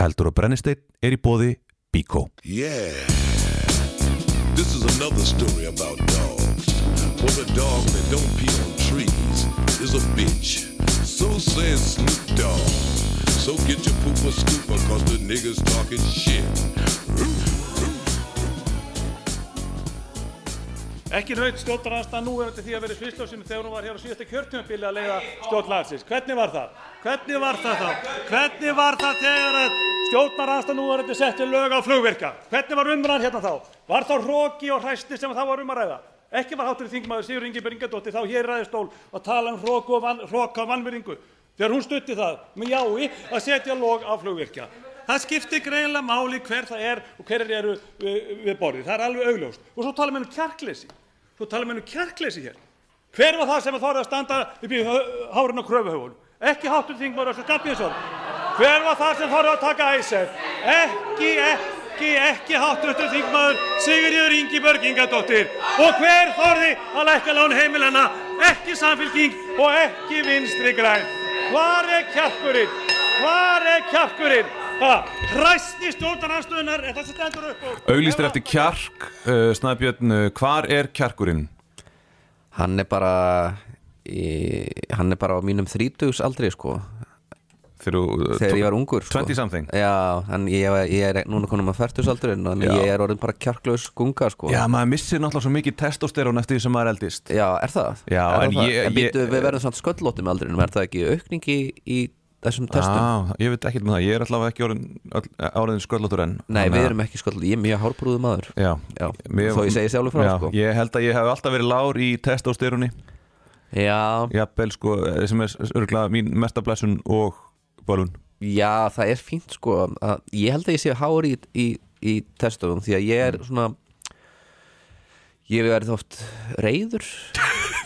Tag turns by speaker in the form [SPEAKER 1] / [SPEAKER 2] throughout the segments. [SPEAKER 1] Eldur og brennisteinn er í bóði Bíkó.
[SPEAKER 2] Yeah. This is another story about dogs. Well, the dog that don't pee on trees is a bitch. So says Snoop Dogg. So get your pooper scooper, cause the niggas talking shit.
[SPEAKER 3] Ekki raut stjórnarandstaðan nú eftir því að vera svislósinu þegar hún var hér á síðasta kjörtjumabili að leiða stjórnlagsins. Hvernig var það? Hvernig var það þá? Hvernig var það þegar að stjórnarandstaðan nú var eftir settu lög á flugvirka? Hvernig var umræðan hérna þá? Var þá hróki og hræsti sem þá var um að ræða? Ekki var hátur þingmaður Sigur Ingi Beringadóttir þá hér í ræðistól og tala um hróku og van, hróka og vannveringu. Þegar hún stutti það með jái að setja log á flugvirkja. Það skiptir greinlega máli hver það er og hver eru við, við borðið. Það er alveg augljóst. Og svo tala með um kjarkleysi. Svo tala mér um kjarkleysi hér. Hver var það sem þorði að standa upp í hö- hárinu á kröfuhöfunum? Ekki háttum þingmaður Össur Skarpíðinsson. Hver var það sem þorði að taka æsef? Ekki, ekki, ekki háttum þingmaður Sigurður Ingi Börgingadóttir. Og hver þorði að lækka lán heimilana? Ekki samfélking og ekki vinstri græn. Hvar er kjarkurinn? Hvar er kjarkurinn? Ha, hræsti stjórnarhansstöðunar er það sem stendur upp úr.
[SPEAKER 4] Auglýstir eftir kjark, uh, Snæbjörn, uh, hvar er kjarkurinn?
[SPEAKER 5] Hann er bara í, Hann er bara á mínum þrítugs aldrei sko
[SPEAKER 4] Þegar, þú, uh,
[SPEAKER 5] Þegar ég var ungur sko.
[SPEAKER 4] 20 something
[SPEAKER 5] Já, en ég, ég er núna konum að færtus aldrei En
[SPEAKER 4] Já.
[SPEAKER 5] ég er orðin bara kjarklaus gunga sko
[SPEAKER 4] Já, maður missir náttúrulega svo mikið testosterón eftir því sem maður eldist
[SPEAKER 5] Já, er það?
[SPEAKER 4] Já,
[SPEAKER 5] er
[SPEAKER 4] en
[SPEAKER 5] það?
[SPEAKER 4] ég-
[SPEAKER 5] en býttu,
[SPEAKER 4] ég-
[SPEAKER 5] Við verðum samt sköllóttum aldrei Er það ekki aukningi í þessum
[SPEAKER 4] Ah,
[SPEAKER 5] testum?
[SPEAKER 4] Já, ég veit ekkert með það, ég er allavega ekki orðin, öll- áriðin sköllóttur enn
[SPEAKER 5] Nei,
[SPEAKER 4] Þannig
[SPEAKER 5] við
[SPEAKER 4] að-
[SPEAKER 5] erum ekki sköllóttum Ég er mjög hárbrúðu maður
[SPEAKER 4] Já,
[SPEAKER 5] Já, þó ég segi sjálfur frá,
[SPEAKER 4] já,
[SPEAKER 5] sko.
[SPEAKER 4] Ég held að ég hef alltaf verið lár í testosteróni
[SPEAKER 5] Já,
[SPEAKER 4] Jafnvel, sko, eh, sem er örgulega mín mesta blessun og bölun
[SPEAKER 5] Já, það er fínt sko að, Ég held að ég sé hár í, í, í testöfum Því að ég
[SPEAKER 4] Mm.
[SPEAKER 5] er svona Ég hef verið oft reyður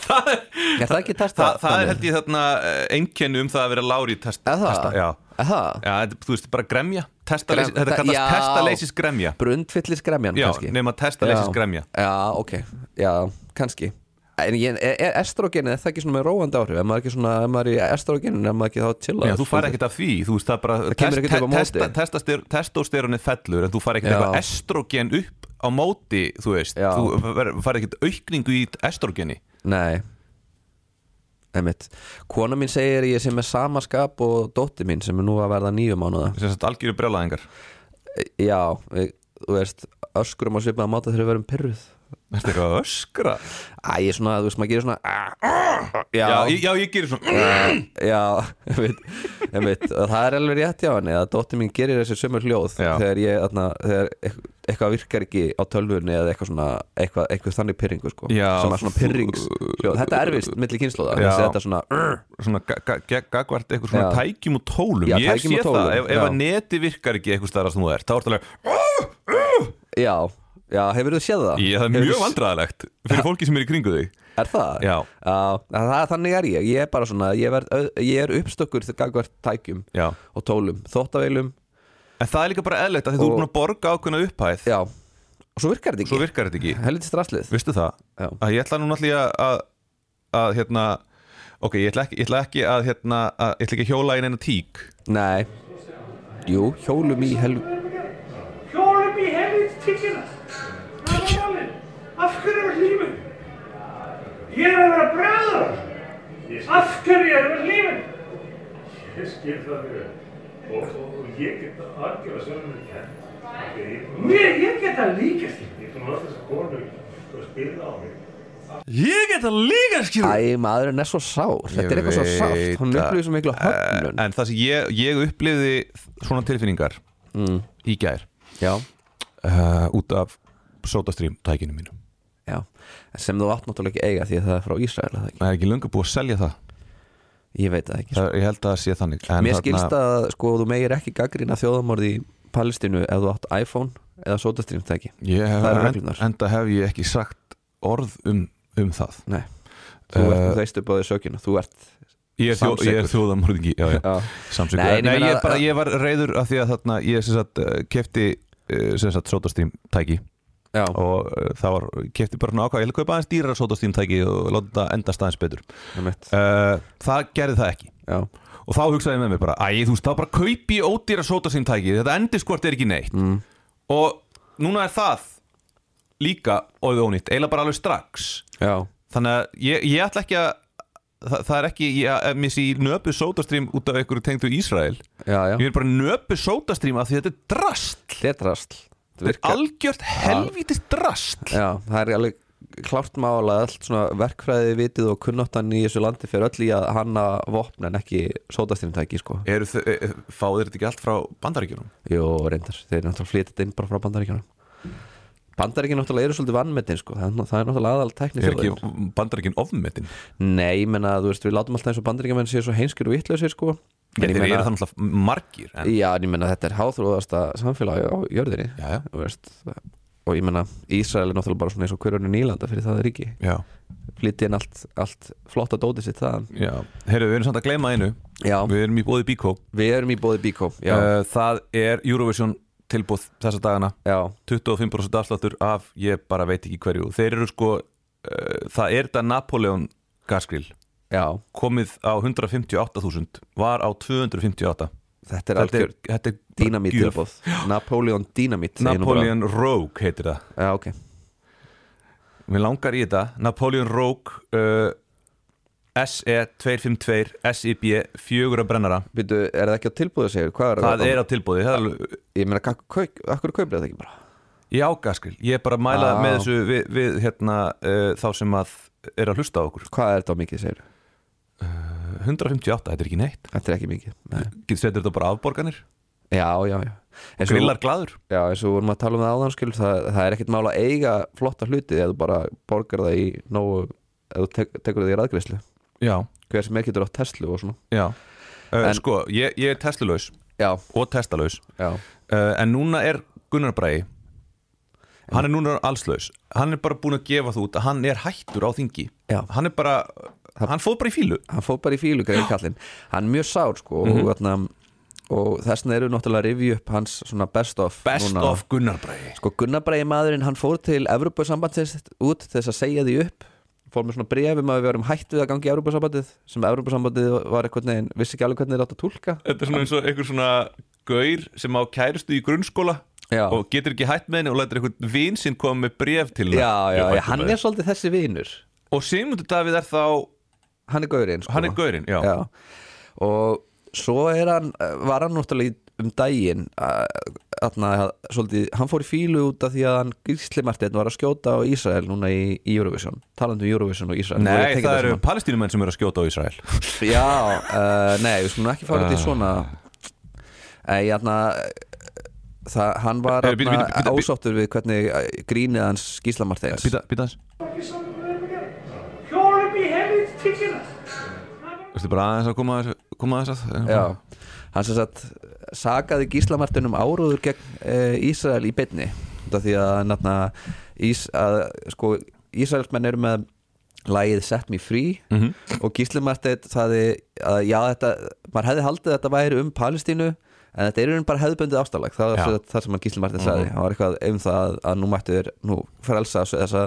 [SPEAKER 5] Það er það ekki testa
[SPEAKER 4] Þa, það er held ég þarna einkenni um það að vera lár í test,
[SPEAKER 5] Er það?
[SPEAKER 4] testa Já,
[SPEAKER 5] Það
[SPEAKER 4] já þetta, þú veist, bara gremja Testaleysi,
[SPEAKER 5] Grem-
[SPEAKER 4] Þetta
[SPEAKER 5] það-
[SPEAKER 4] kallast
[SPEAKER 5] já.
[SPEAKER 4] testaleysis gremja
[SPEAKER 5] Brundfyllis gremjan
[SPEAKER 4] Já,
[SPEAKER 5] kannski
[SPEAKER 4] nema testaleysis
[SPEAKER 5] Já.
[SPEAKER 4] gremja
[SPEAKER 5] Já, ok, já, kannski En ég, er, er estrogenin, er það ekki svona með róandi áhrif? Er maður ekki svona, er maður í estrogenin, er maður ekki þá til
[SPEAKER 4] Já, þú fær ekkert af því, þú veist það bara
[SPEAKER 5] kemur ekkert upp á móti.
[SPEAKER 4] Testosteroni fellur en þú fær ekkert
[SPEAKER 5] Já.
[SPEAKER 4] eitthvað estrogen upp á móti, þú veist
[SPEAKER 5] Já.
[SPEAKER 4] Þú ver- fær ekkert aukningu í estrogeni
[SPEAKER 5] Nei Einmitt. Kona mín segir ég sem er sama skap og dótti mín sem er nú að verða nýju mánuða
[SPEAKER 4] sem sagt algjöru brjálæðingar
[SPEAKER 5] Já, við- þú veist öskrum á svipaða máta þegar um við verum pyrruð
[SPEAKER 4] Ertu eitthvað að öskra?
[SPEAKER 5] Æ, ég er svona, þú veist, maður gerir svona "Ah, ah", Já,
[SPEAKER 4] Já,
[SPEAKER 5] já,
[SPEAKER 4] ég, já, ég gerir svona
[SPEAKER 5] já einmitt, einmitt, og það er alveg rétt hjá henni að dóttir mín gerir þessi sömur hljóð
[SPEAKER 4] Já.
[SPEAKER 5] þegar ég, þarna, þegar eitth- eitthvað virkar ekki á tölvunni eða eitthvað svona eitthvað, eitthvað þannig pyrringu, sko
[SPEAKER 4] Já,
[SPEAKER 5] sem er svona
[SPEAKER 4] þú-
[SPEAKER 5] pyrringshljóð, þetta er vist milli kynnslóða,
[SPEAKER 4] Já.
[SPEAKER 5] þessi þetta svona "Arr",
[SPEAKER 4] svona ga- ga- ge- gagvart eitthvað svona
[SPEAKER 5] Já.
[SPEAKER 4] tækjum og tólum
[SPEAKER 5] Já,
[SPEAKER 4] ég
[SPEAKER 5] tækjum
[SPEAKER 4] sé
[SPEAKER 5] og tólum,
[SPEAKER 4] það, ef, ef
[SPEAKER 5] já.
[SPEAKER 4] að neti virkar ekki eitthvað staðar sem þú er, þá ertu alveg
[SPEAKER 5] Já, já, hefur þú séð það?
[SPEAKER 4] ég það er
[SPEAKER 5] Hefurðu
[SPEAKER 4] mjög
[SPEAKER 5] s-
[SPEAKER 4] vandræðalegt fyrir fólki sem er í kringu þig
[SPEAKER 5] Er það?
[SPEAKER 4] Já.
[SPEAKER 5] það, þannig er ég, ég er bara svona ég, verð, öð- ég er uppstökkur þegar gagvart tækjum
[SPEAKER 4] Já.
[SPEAKER 5] og tólum, þóttaveilum
[SPEAKER 4] en það er líka bara eðlilegt að því þú er
[SPEAKER 5] Og-
[SPEAKER 4] búin að borga ákveðna upphæð
[SPEAKER 5] Já, og svo virkar þetta
[SPEAKER 4] svo
[SPEAKER 5] ekki
[SPEAKER 4] virkar þetta ekki,
[SPEAKER 5] Helviti straslið
[SPEAKER 4] vistu það
[SPEAKER 5] Já.
[SPEAKER 4] að ég ætla núna allir að að hérna, ok, ég ætla ekki, ég ætla ekki að hérna, að, ég ætla ekki að hjóla inn einu tík
[SPEAKER 5] Nei Jú, hjólum í helv...
[SPEAKER 3] Hjólum í helvits tíkina Það er málið Af hverju er hlýminn? Ég er að vera bræður Af hverju er vera hlýminn? Ég skil það fyrir og, og, og ég get það algjörlega sjálfum ekki hægt Mér, ég get það líka skil Ég kom að þess að konu og spila á mig Ég get það líka skil
[SPEAKER 5] Æ, maðurinn er svo sár Þetta er eitthvað svo sárt Hún upplýður svo miklu höfnun
[SPEAKER 4] Eh, en það sem ég, ég upplifði svona tilfinningar
[SPEAKER 5] Mm.
[SPEAKER 4] í gær
[SPEAKER 5] Já,
[SPEAKER 4] uh, út af sótastrím tækinu mínu
[SPEAKER 5] já Sem þú átt náttúrulega ekki eiga því að það er frá Ísrael er það ekki?
[SPEAKER 4] Það er ekki löngu búið að selja það,
[SPEAKER 5] Ég veit það ekki sko.
[SPEAKER 4] það Ég held að það sé þannig en
[SPEAKER 5] Mér skilst að sko, þú megir ekki gaggrina þjóðamorði í Palestínu ef þú átt iPhone eða sótastrýmtæki
[SPEAKER 4] ég hef,
[SPEAKER 5] það
[SPEAKER 4] en,
[SPEAKER 5] eru reglurnar.
[SPEAKER 4] Enda hef ég ekki sagt orð um, um það
[SPEAKER 5] Nei Þú uh,
[SPEAKER 4] Eh,
[SPEAKER 5] ert veist upp á því sökina Þú ert
[SPEAKER 4] Ég er, þjó, ég er
[SPEAKER 5] Samsekur.
[SPEAKER 4] þjóðamorðingi já, já.
[SPEAKER 5] Já.
[SPEAKER 4] Samsekur.
[SPEAKER 5] Nei, en ég
[SPEAKER 4] Nei,
[SPEAKER 5] meina
[SPEAKER 4] ég,
[SPEAKER 5] að-
[SPEAKER 4] bara, ég var reyður af því að þarna Ég sem sagt, eh, kefti eh, sem sagt, sótastrím tæki
[SPEAKER 5] Já,
[SPEAKER 4] og eh, það var, kefti bara svona ákvað ég ætla að kaupa aðeins dýrar sótastrím tæki og láta Eh, það endast aðeins betur
[SPEAKER 5] einmitt
[SPEAKER 4] uh, Það gerði það ekki
[SPEAKER 5] Já,
[SPEAKER 4] og þá hugsaði ég með mér bara æ, þú veist, þá bara kaupi ég ódýra sóta sín tæki þetta endiskvort er ekki neitt mm. og núna er það líka óðið ónýtt, eiginlega bara alveg strax
[SPEAKER 5] já,
[SPEAKER 4] þannig að ég, ég ætla ekki að það, það er ekki, ég missi í nöpu sótastrím út af einhverju tengdu Ísrael
[SPEAKER 5] já, já.
[SPEAKER 4] ég vil bara nöpu sótastrím af því þetta er drast
[SPEAKER 5] þetta er drasl Þetta
[SPEAKER 4] þetta er
[SPEAKER 5] virkar-
[SPEAKER 4] algjört helvítist drast
[SPEAKER 5] já, það er alveg klárt mála allt svona verkfræði vitið og kunnottan í þessu landi fyrir öll í að hanna vopn en ekki sótastýrintæki sko.
[SPEAKER 4] Eru þau, e- e- fá þeir þetta ekki allt frá bandaríkjunum?
[SPEAKER 5] Jó, reyndar, þeir náttúrulega flytja þetta inn bara frá bandaríkjunum Bandaríkjun náttúrulega eru svolítið vannmetin sko. það, er- það er náttúrulega aðal tekni
[SPEAKER 4] Er ekki bandaríkjun ofmetin?
[SPEAKER 5] Nei, ég menna, þú veist, við látum alltaf eins og bandaríkjamenn séu svo heimskir og vitlausir sko. En
[SPEAKER 4] Þeir
[SPEAKER 5] ég
[SPEAKER 4] eru
[SPEAKER 5] meina-
[SPEAKER 4] það náttúrulega margir en,
[SPEAKER 5] Já, en ég menna þetta er háþróðasta samfélag á jörðinni
[SPEAKER 4] Já, já.
[SPEAKER 5] Þú veist, og ég menna Ísrael er náttúrulega bara svona eins og hverjunni nýlanda fyrir það ríki
[SPEAKER 4] Já,
[SPEAKER 5] flytti inn allt, allt flotta dótið sitt þaðan
[SPEAKER 4] já Heyrðu, við erum samt að gleyma einu
[SPEAKER 5] Já, við,
[SPEAKER 4] Við erum í bóði Bíkó
[SPEAKER 5] erum í bóði Bíkó Já,
[SPEAKER 4] Uh, Það er Eurovision tilbúð þessa dagana
[SPEAKER 5] já,
[SPEAKER 4] 25% afsláttur af ég bara veit ekki hverju Þeir eru sko uh, Það er þetta Napoleon gasgrill
[SPEAKER 5] já
[SPEAKER 4] komið á 158.000 var á 258
[SPEAKER 5] Þetta er
[SPEAKER 4] Þetta
[SPEAKER 5] algjör
[SPEAKER 4] er, þetta er bara
[SPEAKER 5] dýnamít
[SPEAKER 4] gjöf.
[SPEAKER 5] tilbúð Napoleon dýnamít segi ég nú bara.
[SPEAKER 4] Napoleon Rogue heitir það
[SPEAKER 5] Já, ok
[SPEAKER 4] Mér langar í þetta Napoleon Rogue E uh, SE252 SIB fjögur að E brennara
[SPEAKER 5] Býtu, er það ekki á tilbúðu segir? Hvað er
[SPEAKER 4] Það er á tilbúði það er alveg-
[SPEAKER 5] Ég meina, hvað- hvað- af hverju kaupir þetta ekki bara?
[SPEAKER 4] Já, gaskil, ég er bara að mæla
[SPEAKER 5] Ah.
[SPEAKER 4] með þessu við, við hérna, uh, þá sem að er að hlusta á okkur
[SPEAKER 5] Hvað er þetta á mikið segir?
[SPEAKER 4] 158, þetta er ekki neitt
[SPEAKER 5] Þetta er ekki mikið Nei.
[SPEAKER 4] Getur setur þetta bara afborganir,
[SPEAKER 5] Já, já, já Eins og-
[SPEAKER 4] grillar glaður
[SPEAKER 5] Já, eins og við vorum að tala um það áðan skil það, það er ekkert mála að eiga flotta hluti eða þú bara borgar það í nógu eða þú tek, tekur það í ræðgreyslu
[SPEAKER 4] Já,
[SPEAKER 5] hver sem er getur á Tesla og svona
[SPEAKER 4] já uh,
[SPEAKER 5] En-
[SPEAKER 4] Sko, ég, ég er teslulaus
[SPEAKER 5] Já,
[SPEAKER 4] og testalaus
[SPEAKER 5] já,
[SPEAKER 4] uh, En núna er Gunnar Bræði Hann er núna allslaus Hann er bara búin að gefa þú út að hann er hættur á þingi
[SPEAKER 5] Já.
[SPEAKER 4] Hann er bara, hann fóð bara í fílu
[SPEAKER 5] hann fóð bara í fílu greið kallinn hann er mjög sár sko og, þarna, og þessna eru náttúrulega að rifja upp hans svona best of
[SPEAKER 4] Best
[SPEAKER 5] núna.
[SPEAKER 4] of Gunnar Bræði
[SPEAKER 5] Sko Gunnar Bregi maðurinn hann fór til Evrópusambandsins út til þess að segja því upp fór með svona brefum að við varum hætt við að gangi í Evrópusambandið sem Evrópusambandið var eitthvað neginn vissi ekki alveg hvernig þeir átt að tólka
[SPEAKER 4] Þetta er svona eins og einhver svona gaur sem á kærustu í grunnskóla
[SPEAKER 5] Já.
[SPEAKER 4] og getur ekki hætt með henni og lætur einhvern vin sinn koma með bref til hennar.
[SPEAKER 5] Já, já,
[SPEAKER 4] Ég
[SPEAKER 5] já,
[SPEAKER 4] hættur
[SPEAKER 5] hann
[SPEAKER 4] með
[SPEAKER 5] er svolítið þessi vinur
[SPEAKER 4] þér. Og Sigmundur Davíð er þá
[SPEAKER 5] Hann er gaurinn sko.
[SPEAKER 4] hann er gaurinn, já,
[SPEAKER 5] Já. Og svo er hann, var hann náttúrulega í- um daginn að- þarna, svolítið, hann fór í fílu út af því að hann Gísli Marteinn var að skjóta á Ísrael núna í, í Eurovision, talandi um Eurovision og Ísrael Nú er ég að
[SPEAKER 4] Nei,
[SPEAKER 5] tengja
[SPEAKER 4] það
[SPEAKER 5] þetta
[SPEAKER 4] eru
[SPEAKER 5] saman.
[SPEAKER 4] palestínumenn sem eru að skjóta á Ísrael
[SPEAKER 5] Já, uh, nei, við skulum ekki
[SPEAKER 4] Eh.
[SPEAKER 5] fara út í svona Nei, þarna eh, það, hann var
[SPEAKER 4] Eh, bíddu,
[SPEAKER 5] þarna
[SPEAKER 4] bíddu, bíddu, bíddu.
[SPEAKER 5] ósáttur við hvernig eh, grínið hans Gísla Marteins
[SPEAKER 4] Býta, býta hans
[SPEAKER 6] Hjólum í helvits tiggina.
[SPEAKER 4] Vistu bara aðeins að koma að þessu- koma að þess að
[SPEAKER 5] Já, Mhm. hann sem sagt sagaði gíslamartin um áróður gegn e, Ísrael í beinni þetta því að, natna, ís, að sko, Ísraelsmenn eru með lagið Set Me Free og gíslamartin sagði að já, þetta, maður hefði haldið að þetta væri um Palestínu en þetta er í raun bara hefðbundið ástalag það var
[SPEAKER 4] Já.
[SPEAKER 5] sem sagt það sem hann gíslamartin sagði hann var eitthvað um það að, að nú mættu þér nú frelsa þessu- þessa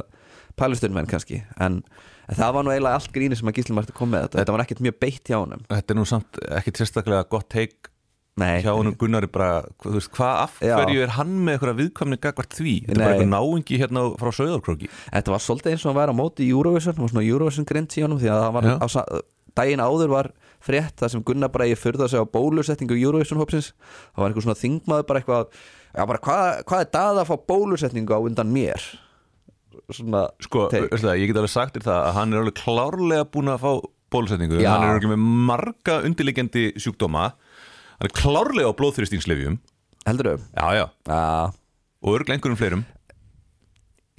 [SPEAKER 5] palestinmenn kannski en, en það var nú eiginlega allt gríni sem að gíslamartin kom með þetta þetta var ekkert mjög beitt hjá honum
[SPEAKER 4] Þetta er nú samt ekkit sérstaklega gott teik
[SPEAKER 5] Nei,
[SPEAKER 4] hjá honum Gunnari bara, hvað- þú veist, hvað af
[SPEAKER 5] Já.
[SPEAKER 4] hverju er hann með eitthvað viðkvæmni gagvart því? Þetta er bara
[SPEAKER 5] Nei.
[SPEAKER 4] eitthvað náingi hérna frá Söðarkróki
[SPEAKER 5] Þetta var svolítið eins og hann væri á móti í Eurovision hann var svona Eurovision grind í honum því að það var
[SPEAKER 4] Já.
[SPEAKER 5] á, sa- daginn áður var frétt það sem Gunnar Bræði fyrða sig á bólusetningu Eurovision hópsins, það var einhver svona þingmaður bara eitthvað, já bara hvað, hvað er daða að fá bólusetningu á undan mér svona
[SPEAKER 4] Sko,
[SPEAKER 5] take.
[SPEAKER 4] veistu það, ég get alveg sagt þér það að hann er alveg klárlega búin að fá bólusetningu
[SPEAKER 5] Já.
[SPEAKER 4] Hann er alveg með marga undirliggjandi sjúkdóma Hann er klárlega á blóðþrýstingslefjum
[SPEAKER 5] heldur þau?
[SPEAKER 4] Já, já,
[SPEAKER 5] Já,
[SPEAKER 4] og örglega einhverjum fleirum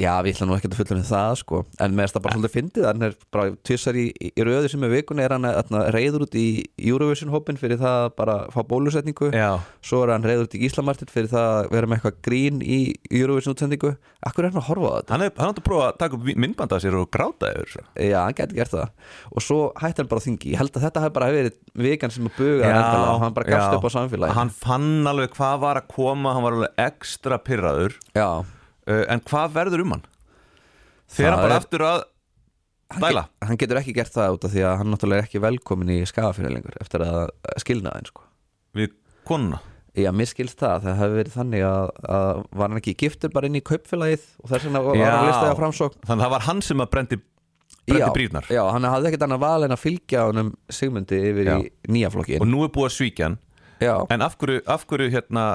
[SPEAKER 5] já við ætlum nú ekkert að fulla með það sko, en með þetta bara svolítið fyndið hann er bara tvisar í, í röðu sem er vikunni er hann að reyður út í Eurovision hópin fyrir það að bara fá bólusetningu
[SPEAKER 4] Já,
[SPEAKER 5] svo er hann reyður til Íslamartin fyrir það að vera með eitthvað grín í Eurovision útsendingu Akkur er hann að horfa á þetta?
[SPEAKER 4] hann er hann átti að prófa að taka upp myndbanda sér og gráta yfir þessu.
[SPEAKER 5] Já, hann gæti gert það og svo hætti hann bara á þingi, ég held að þetta hafi bara verið vikan sem að buga hann endalega og hann bara gafst
[SPEAKER 4] já.
[SPEAKER 5] upp á samfélagi
[SPEAKER 4] Hann fann alveg hvað var að koma, hann var alveg ekstra Eh, pyrraður
[SPEAKER 5] Já,
[SPEAKER 4] uh, en hvað verður um hann þegar
[SPEAKER 5] Það
[SPEAKER 4] hann bara
[SPEAKER 5] er-
[SPEAKER 4] aftur að
[SPEAKER 5] hann,
[SPEAKER 4] Dæla.
[SPEAKER 5] get, hann getur ekki gert það út af því að hann náttúrulega er ekki velkomin í skafafinu lengur eftir að skilnaðin sko.
[SPEAKER 4] Við konuna
[SPEAKER 5] Já, mér skilst það, það hefur verið þannig að, að var hann ekki giftur bara inn í kaupfélagið og þess vegna var var hann listaði á framsókn
[SPEAKER 4] Þannig að það var hann sem að brendi, brendi
[SPEAKER 5] Já,
[SPEAKER 4] brýrnar
[SPEAKER 5] Já, hann hafði ekkert annað val en að fylgja honum Sigmundi yfir
[SPEAKER 4] Já.
[SPEAKER 5] í nýja flokkin
[SPEAKER 4] Og nú er búið að svíkja hann
[SPEAKER 5] Já,
[SPEAKER 4] En af hverju, af hverju hérna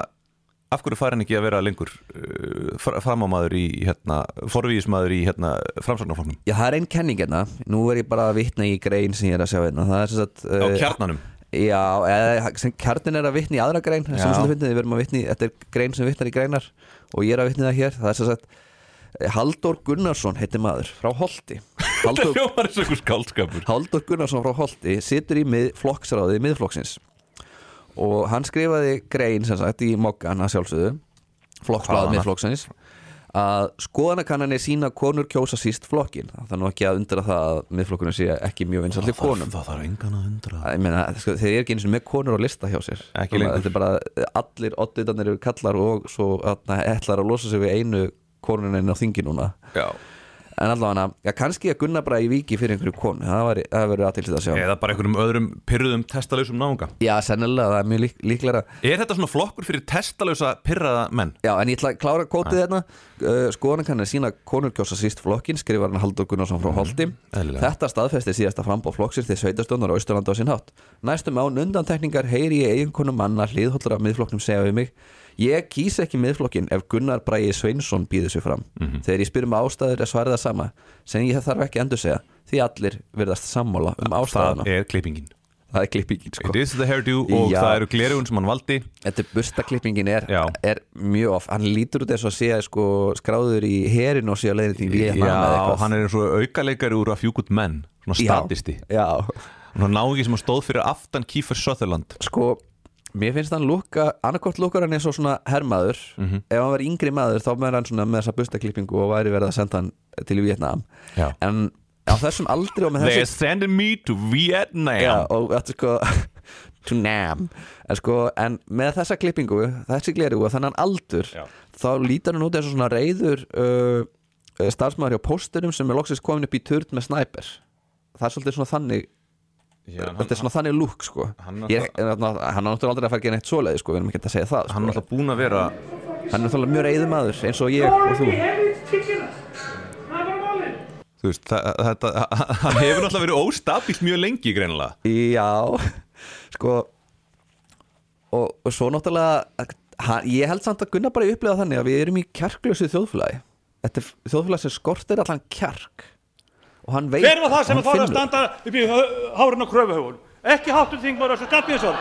[SPEAKER 4] Af hverju fær hann ekki að vera lengur uh, fr- framámaður í hérna forvíðismaður í hérna framsóknarfloknum
[SPEAKER 5] já það er einn kenning hérna Nú er ég bara að vitna í grein sem ég er að sjá hérna Það er sem sagt
[SPEAKER 4] á
[SPEAKER 5] eh,
[SPEAKER 4] kjarnanum
[SPEAKER 5] Já, eða sem kjarnin er að vitna í aðra grein sem
[SPEAKER 4] Já.
[SPEAKER 5] sem við erum að vitna í, þetta er grein sem vitnar í greinar og ég er að vitna í það hér það er sem sagt eh, Halldór Gunnarsson heitir maður frá Holti Halldór
[SPEAKER 4] Hljómar þessu einhvers kaldskapur
[SPEAKER 5] Haldur Gunnarsson frá Holti situr í mið, flokksráði miðflokksins og hann skrifaði grein sem sagt í Moggan að sjálfsögðu flokksráði
[SPEAKER 4] Hvaðan?
[SPEAKER 5] miðflokksins að skoðanakannanir sína konur kjósa síst flokkin það er nú ekki að undra það að miðflokkunum sé ekki mjög vinsallið konum
[SPEAKER 4] Það þarf engan að undra
[SPEAKER 5] Ég meina, sko, þeir eru ekki eins og með konur á lista hjá sér
[SPEAKER 4] Ekki
[SPEAKER 5] Svona,
[SPEAKER 4] lengur.
[SPEAKER 5] Þetta er bara allir odditanir eru kallar og svo atna, ætlar að losa sig við einu konuninn á þingi núna
[SPEAKER 4] Já.
[SPEAKER 5] En allavega, já, kannski að Gunnar bara í viki fyrir einhverju konu, það væri- það verður aðtilsið að sjá
[SPEAKER 4] Eða bara einhverjum öðrum pyrruðum testalausum náunga
[SPEAKER 5] Já, sennilega, það er mjög lík, líklega
[SPEAKER 4] Er þetta svona flokkur fyrir testalausa pyrraða menn?
[SPEAKER 5] Já, en ég ætla að klára kótið hérna uh, Skoðan kannir sína konur kjósa síst flokkin skrifar hann Haldur Gunnarsson frá Holti
[SPEAKER 4] Mhm, eðlilega.
[SPEAKER 5] Þetta staðfesti síðasta frambóð flokksins til sveitastöndar á Austurlanda á sinn hátt Næstum án undantekningar heyri ég eiginkonum manna hliðhollur af miðflokknum segja við mig Ég kýs ekki miðflokkin ef Gunnar Bræi Sveinsson býður sig fram
[SPEAKER 4] Mhm.
[SPEAKER 5] Þegar ég spyr um ástæður er svarið það sama sem ég þarf ekki endur segja því allir verðast sammála um ástæðuna
[SPEAKER 4] Það er klippingin
[SPEAKER 5] Það er klippingin sko
[SPEAKER 4] It is the hairdo og
[SPEAKER 5] Já.
[SPEAKER 4] það eru glerugun sem hann valdi
[SPEAKER 5] Þetta burstaklippingin er,
[SPEAKER 4] Já.
[SPEAKER 5] er mjög of Hann lítur út eins og sé sko, skráður í herin og sé að leiðin því við
[SPEAKER 4] Já, hann er eins og aukaleikari úr að fjúkut menn Svona statisti
[SPEAKER 5] Já,
[SPEAKER 4] Svona náungi sem að stóð fyrir aftan Kiefer Sutherland
[SPEAKER 5] sko Mér finnst hann lúka, annarkort lúkar hann eins og svona herrmaður
[SPEAKER 4] Mhm.
[SPEAKER 5] Ef hann var yngri maður þá verður hann svona með þessa burstaklippingu og væri verið að senda hann til Vietnam
[SPEAKER 4] Já.
[SPEAKER 5] En á þessum aldri og með þessu
[SPEAKER 4] They're sending me to Vietnam
[SPEAKER 5] Já, og þetta er sko to nam en, sko, en með þessa klippingu, þessi gleru og þannan aldur, þá lítar hann út eins og svona reyður uh, starfsmæður hjá pósturum sem er loksins komin upp í turd með snæper það er svolítið svona þannig
[SPEAKER 4] Já, en
[SPEAKER 5] þetta er svona þannig lúk sko
[SPEAKER 4] hann
[SPEAKER 5] Ég er- en þarna- hann er náttúrulega aldrei að fara að gera neitt svoleiði sko, við erum ekki að segja það sko.
[SPEAKER 4] Hann er alltaf búin að vera
[SPEAKER 5] hann er náttúrulega mjög reyðum aður eins og ég og þú
[SPEAKER 6] Það er bara málið.
[SPEAKER 4] Þú veist, það, þetta, hann hefur alltaf verið óstabilt mjög lengi greinilega
[SPEAKER 5] Já, sko og, og svo náttúrulega hann, ég held samt að Gunnar bara upplega þannig að við erum í kjarklösu þjóðfélagi Þetta er þjóðfélagi sem skortir allan kjark og hann veit
[SPEAKER 3] Hver var það sem
[SPEAKER 5] hann
[SPEAKER 3] að þóra að
[SPEAKER 5] finnur-
[SPEAKER 3] standa upp í uh, hárun og kröfuhöfun? Ekki háttun þingmaður Össur Skarpínsson.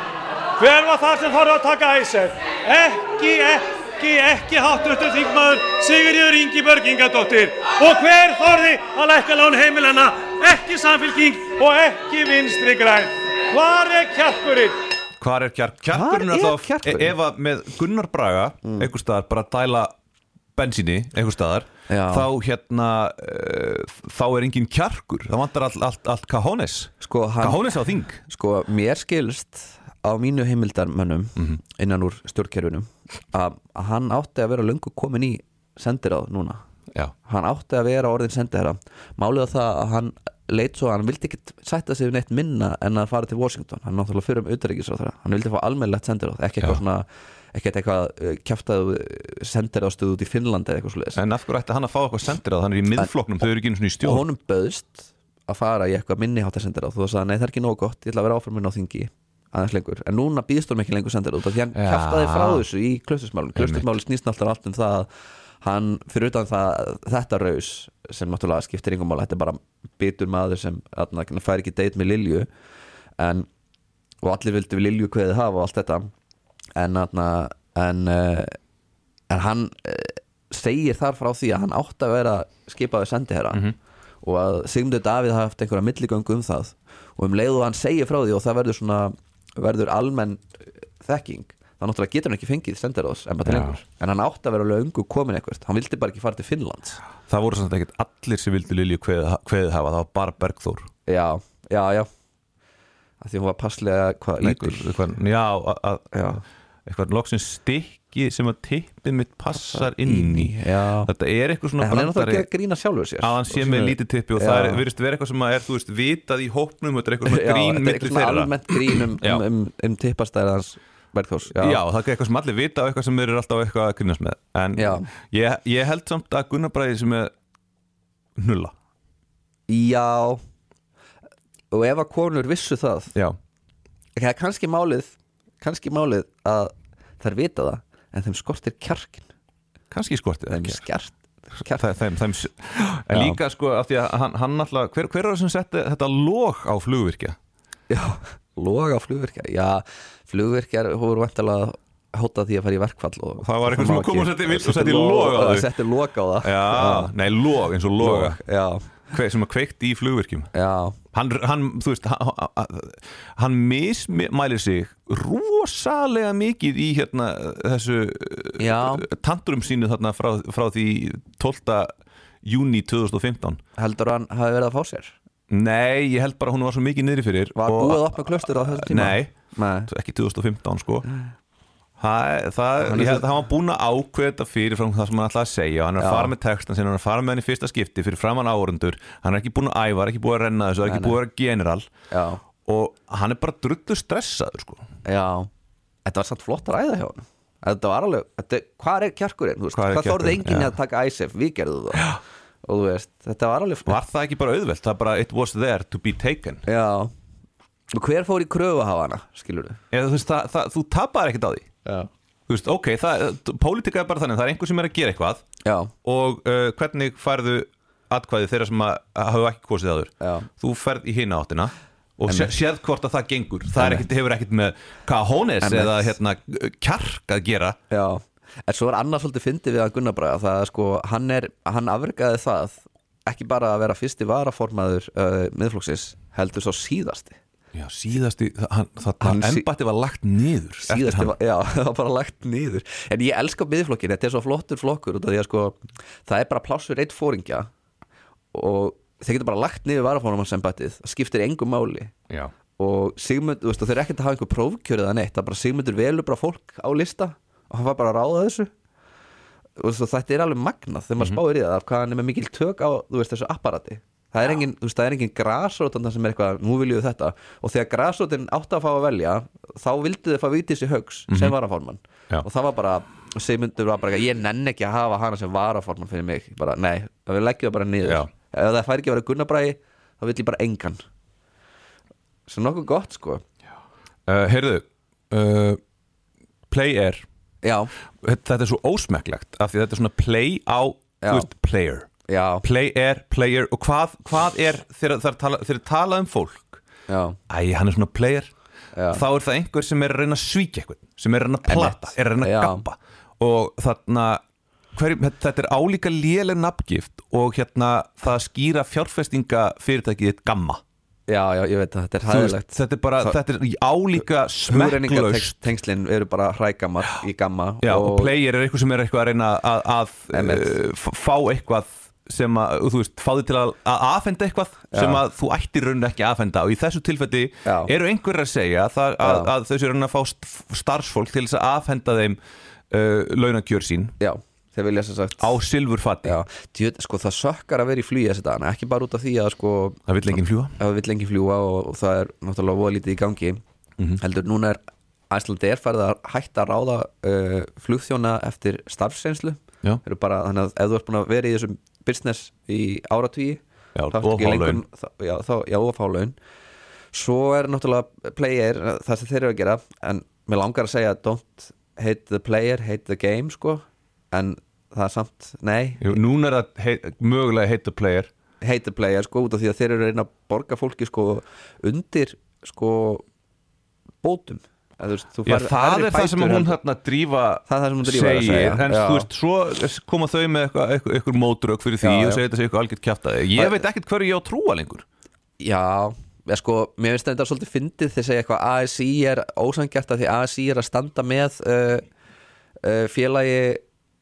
[SPEAKER 3] Hver var það sem þóra að taka æsef? Ekki, ekki, ekki háttun þingmaður Sigurður Ingi Börgingadóttir. Og hver þorði að lækka lán heimilana? Ekki samfélking og ekki vinstri græn. Hvar er kjarkurinn?
[SPEAKER 4] Hvar er kjark? Kjarkurinn
[SPEAKER 5] Hvar er
[SPEAKER 4] alltaf
[SPEAKER 5] kjarkurinn? Mm.
[SPEAKER 4] Ef að með Gunnar Braga einhver staðar bara dæla bensíni einhver staðar
[SPEAKER 5] Já.
[SPEAKER 4] þá hérna uh, þá er engin kjarkur það vantar allt, allt, allt kahones
[SPEAKER 5] Sko, hann-
[SPEAKER 4] kahones á þing
[SPEAKER 5] Sko, mér skilst á mínu heimildarmönnum innan úr stjórnkerfinum að, að hann átti að vera löngu komin í sendiráð núna
[SPEAKER 4] Já.
[SPEAKER 5] hann átti að vera orðin sendiherra málið að það að hann leit svo að hann vildi ekki sætta sig við neitt minna en að fara til Washington hann er náttúrulega fyrir um utanríkisráð hann vildi fá almennlegt sendiráð ekki eitthvað
[SPEAKER 4] Já.
[SPEAKER 5] svona ekkert eitthvað uh, kjaftaðu sendiráðstuð út í Finnlandi eða eitthvað svoleiðis
[SPEAKER 4] en af hverju ætti hann að fá eitthvað sendir að hann er í miðfloknum þau eru ekki einu svona í
[SPEAKER 5] og
[SPEAKER 4] stjórn
[SPEAKER 5] honum böðst að fara í eitthvað minni hátta sendir á þú sagði nei það er ekki nóg gott, ég ætla að vera áfram minn á þingi aðeins lengur, en núna býðst honum ekki lengur sendir á því hann
[SPEAKER 4] Já.
[SPEAKER 5] kæftaði frá þessu í klustusmálun klustusmálun snýst náttúrulega allt um það að hann, fyrir utan það, þetta raus sem náttúrulega skiptir yngum mála þetta er bara bitur maður sem atna, fær ekki deit með Lilju en, og allir vildu Lilju kveðið hafa og allt þetta en, atna, en uh, en hann eh, segir þar frá því að hann átti að vera skipaði sendiherra
[SPEAKER 4] Mhm.
[SPEAKER 5] og að Sigmundur Davíð hafði haft einhverja milligöngu um það og um leiðu hann segir frá því og það verður svona verður almenn eh, þekking þá náttúrulega getur hann ekki fengið sendiherraðs en bara
[SPEAKER 4] Já.
[SPEAKER 5] lengur en hann átti að vera alveg ungu komin eitthvað hann vildi bara ekki fara til Finnlands
[SPEAKER 4] það voru svona ekkert allir sem vildi Lilju kveðið kveði hafa það var bara Bergþór
[SPEAKER 5] já, já, já að því hún var passlega hvað lítil
[SPEAKER 4] Eitthvað- já, að- að-
[SPEAKER 5] Já.
[SPEAKER 4] eitthvað loksins stikki ekki sem að tippið mitt passar inn í
[SPEAKER 5] já.
[SPEAKER 4] þetta er eitthvað svona
[SPEAKER 5] En hann er
[SPEAKER 4] brandari
[SPEAKER 5] náttúrulega að grína sjálfur sér
[SPEAKER 4] að hann sé með lítið tippi og
[SPEAKER 5] Já.
[SPEAKER 4] það er, virðist vera eitthvað sem að er, þú veist, vitað í hópnum þetta er eitthvað svona grín
[SPEAKER 5] þetta er
[SPEAKER 4] milli
[SPEAKER 5] eitthvað svona
[SPEAKER 4] þeirra
[SPEAKER 5] almennt grín um,
[SPEAKER 4] Já.
[SPEAKER 5] um, um, um tippastæðið hans Bergþórs
[SPEAKER 4] Já. það er eitthvað sem allir vita og eitthvað sem þeir eru alltaf eitthvað að grínast með En
[SPEAKER 5] Já.
[SPEAKER 4] ég, ég held samt að Gunnar Bræði sem er nulla
[SPEAKER 5] Já Og ef að konur vissu það
[SPEAKER 4] Já,
[SPEAKER 5] Það er kannski málið Kannski málið að þær vita það En þeim skortir kjarkin
[SPEAKER 4] kannski skortið
[SPEAKER 5] Þeim
[SPEAKER 4] ekki.
[SPEAKER 5] skjart
[SPEAKER 4] Það er þeim, þeim, En
[SPEAKER 5] Já.
[SPEAKER 4] líka sko, af því að hann, hann alltaf hver, hver er það sem setti þetta lóg á flugvirkja?
[SPEAKER 5] Já, loga flugvirkja Já, flugvirkjar voru vantilega hótað því að fara í verkfall og,
[SPEAKER 4] Það var eitthvað
[SPEAKER 5] má
[SPEAKER 4] sem kom og
[SPEAKER 5] ekki-
[SPEAKER 4] setti- vill og setti log á þau.
[SPEAKER 5] Setti log á það
[SPEAKER 4] Já, nei, lóg, eins og lóga
[SPEAKER 5] Log, Já,
[SPEAKER 4] Hver sem að kveikti í flugvirkjum
[SPEAKER 5] já
[SPEAKER 4] Hann, hann, þú veist, hann, hann mismælir sig rosalega mikið í hérna þessu eh,
[SPEAKER 5] Já.
[SPEAKER 4] tantrum sínu þarna frá, frá því 12. júni 2015
[SPEAKER 5] Heldur hann hafi verið að fá sér
[SPEAKER 4] Nei, ég held bara hún var svo mikið niðri fyrir
[SPEAKER 5] Var
[SPEAKER 4] og-
[SPEAKER 5] búið að opna klöstur á þessum tíma
[SPEAKER 4] Nei,
[SPEAKER 5] Nei
[SPEAKER 4] ekki 2015 sko Það, það,
[SPEAKER 5] Hann er
[SPEAKER 4] ég held
[SPEAKER 5] svo-
[SPEAKER 4] að hann var búinn að ákveða þetta fyrir frá það sem hann ætlaði að segja og hann er
[SPEAKER 5] Já.
[SPEAKER 4] að fara með textan sinna, hann er að fara með hann í fyrsta skipti fyrir framann áhörundur, hann er ekki búinn að æfa hann er ekki búinn að renna þessu, hann er ekki búinn að vera general
[SPEAKER 5] Já,
[SPEAKER 4] og hann er bara drullu stressaður sko.
[SPEAKER 5] Já, þetta var samt flott að ræða hjá hann Þetta var alveg, þetta, hvað er kjarkurinn? þú veist?
[SPEAKER 4] Hvar er
[SPEAKER 5] Hvað þorði
[SPEAKER 4] kjarkurinn?
[SPEAKER 5] enginn
[SPEAKER 4] Já.
[SPEAKER 5] að taka ISF, við gerðum það Og þú veist, þetta var alveg
[SPEAKER 4] Var það ekki bara auðvelt, það er bara it was there to be taken
[SPEAKER 5] Já, og hver fór í kröfu að hafa hana, skilur við?
[SPEAKER 4] Eða, þú, veist, það, það, þú tapar ekkert á því Þú veist, ok, það, pólitika er bara þannig það er einhver sem er að gera eitthvað
[SPEAKER 5] Já,
[SPEAKER 4] og uh, hvernig færðu atkvæði þeirra sem að, að hafa ekki kosið aður
[SPEAKER 5] Já.
[SPEAKER 4] þú ferð í hina áttina og sé, sérð hvort að það gengur það er ekkit, hefur ekkit með kajónes
[SPEAKER 5] Einmitt.
[SPEAKER 4] eða hérna, kjark að gera
[SPEAKER 5] já En svo er annars svolítið fyndið við að Gunnar Braga Það er sko, hann er, hann afrekaði það Ekki bara að vera fyrsti varaformaður uh, miðflóksins Heldur svo síðasti
[SPEAKER 4] Já, síðasti, það- hann, það
[SPEAKER 5] Hann sí-
[SPEAKER 4] embætti var lagt niður eftir
[SPEAKER 5] síðasti
[SPEAKER 4] hann.
[SPEAKER 5] var, já, það var bara lagt nýður en ég elska miðflokkin, þetta er svo flottur flokkur út af því að sko, það er bara plássur eitt fóringja og þeir getur bara lagt niður varafónumarsembættið það skiptir engu máli
[SPEAKER 4] Já.
[SPEAKER 5] og Sigmund, þú veist, og þeir eru ekkert að hafa einhver prófkjörið að neitt, það er bara Sigmundur velur bara fólk á lista og hann var bara að ráða þessu og svo þetta er alveg magnað þegar maður
[SPEAKER 4] Mhm.
[SPEAKER 5] spáir í það, af hvað hann er með mikil tök á þú veist, þessu apparati það er engin, þú veist, það er engin grasrótan sem er eitthvað, nú viljum við þetta og þegar grasrótin átti að fá að velja þá vildu þau fá vitið sér högs sem varaformann
[SPEAKER 4] Mhm. Já.
[SPEAKER 5] og það var bara Sigmundur var bara, eitthvað, ég nenn ekki að hafa hana sem varaformann fyrir mig, bara, nei, við leggjum það bara niður
[SPEAKER 4] Já.
[SPEAKER 5] ef það fær ekki að vera Gunnabræði þá vill ég bara engan sem nokkuð gott sko
[SPEAKER 4] Uh, heyrðu uh, play air
[SPEAKER 5] já,
[SPEAKER 4] þetta er svo ósmekklegt af því þetta er svona play á
[SPEAKER 5] Já.
[SPEAKER 4] þú veist, player
[SPEAKER 5] já,
[SPEAKER 4] play er, player og hvað, hvað er þegar það er tala, þegar er talað um fólk
[SPEAKER 5] já,
[SPEAKER 4] æ, hann er svona player
[SPEAKER 5] Já.
[SPEAKER 4] þá er það einhver sem er að reyna að svíkja eitthvað sem er að reyna að plata,
[SPEAKER 5] Einmitt.
[SPEAKER 4] er að reyna
[SPEAKER 5] Já.
[SPEAKER 4] að gappa og þarna hver, þetta er álíka léleg nafngift og hérna það skýra fjárfestinga fyrirtækið þitt gamma
[SPEAKER 5] já, já, ég veit að þetta er
[SPEAKER 4] Þú veist,
[SPEAKER 5] hæðilegt
[SPEAKER 4] þetta er bara,
[SPEAKER 5] Það-
[SPEAKER 4] þetta er álíka smekklaust
[SPEAKER 5] Hugrenningatengslin eru bara hrækammar í gamma
[SPEAKER 4] Já, og, player er eitthvað sem er eitthvað að reyna að, að
[SPEAKER 5] Einmitt.
[SPEAKER 4] uh, f- fá eitthvað sem að, þú veist, fá þig til að, að aðfenda eitthvað sem að þú ættir raun ekki að aðfenda og í þessu tilfelli
[SPEAKER 5] Já.
[SPEAKER 4] eru einhverjir að segja það, að,
[SPEAKER 5] Já.
[SPEAKER 4] að þau séu raun að fá st- starfsfólk til þess að aðfenda þeim uh, launakjör sín
[SPEAKER 5] Já, þeir vilja sem sagt
[SPEAKER 4] á silfurfati
[SPEAKER 5] Já, djú, sko það sökkar að vera í flugi þessi dagana ekki bara út af því að sko
[SPEAKER 4] það vill enginn fljúa
[SPEAKER 5] að við vill lengi fljúa og, og það er náttúrulega voða lítið í gangi
[SPEAKER 4] Mhm.
[SPEAKER 5] heldur núna er Æslandeir færið að hætta að ráða uh, flugþjóna eftir starfsreynslu
[SPEAKER 4] Já.
[SPEAKER 5] Þeir eru bara, þannig að ef þú ert búin að vera í þessum business í áratvíi
[SPEAKER 4] Já,
[SPEAKER 5] þá ertu
[SPEAKER 4] og
[SPEAKER 5] ekki
[SPEAKER 4] fá
[SPEAKER 5] lengur-
[SPEAKER 4] laun.
[SPEAKER 5] þá- já, þá- já, og fá laun svo er náttúrulega player eh, það sem þeir eru að gera en mér langar að segja don't hate the player, hate the game sko, en það er samt nei,
[SPEAKER 4] Jú, Núna er það hei, mögulega heita player
[SPEAKER 5] hate the player sko, út af því að þeir eru að reyna að borga fólki sko undir sko bótum Eða, þú veist, þú
[SPEAKER 4] Já,
[SPEAKER 5] færð
[SPEAKER 4] það
[SPEAKER 5] hærri
[SPEAKER 4] er það sem
[SPEAKER 5] bætur
[SPEAKER 4] hún
[SPEAKER 5] heldur-
[SPEAKER 4] hérna drífa
[SPEAKER 5] Það er það sem hún Drífa er að
[SPEAKER 4] segir,
[SPEAKER 5] segja,
[SPEAKER 4] en
[SPEAKER 5] já.
[SPEAKER 4] þú veist, svo koma þau með eitthvað eitthvað, eitthvað mótrök fyrir því
[SPEAKER 5] Já, já.
[SPEAKER 4] og segja þetta sé eitthvað algjört kjaftaði ég
[SPEAKER 5] Það-
[SPEAKER 4] veit ekkert hverju ég á að trúa lengur
[SPEAKER 5] Já, ég sko, mér finnst þetta svolítið fyndið þegar segja eitthvað ASI er ósangjart að því ASI er að standa með uh, uh, félagi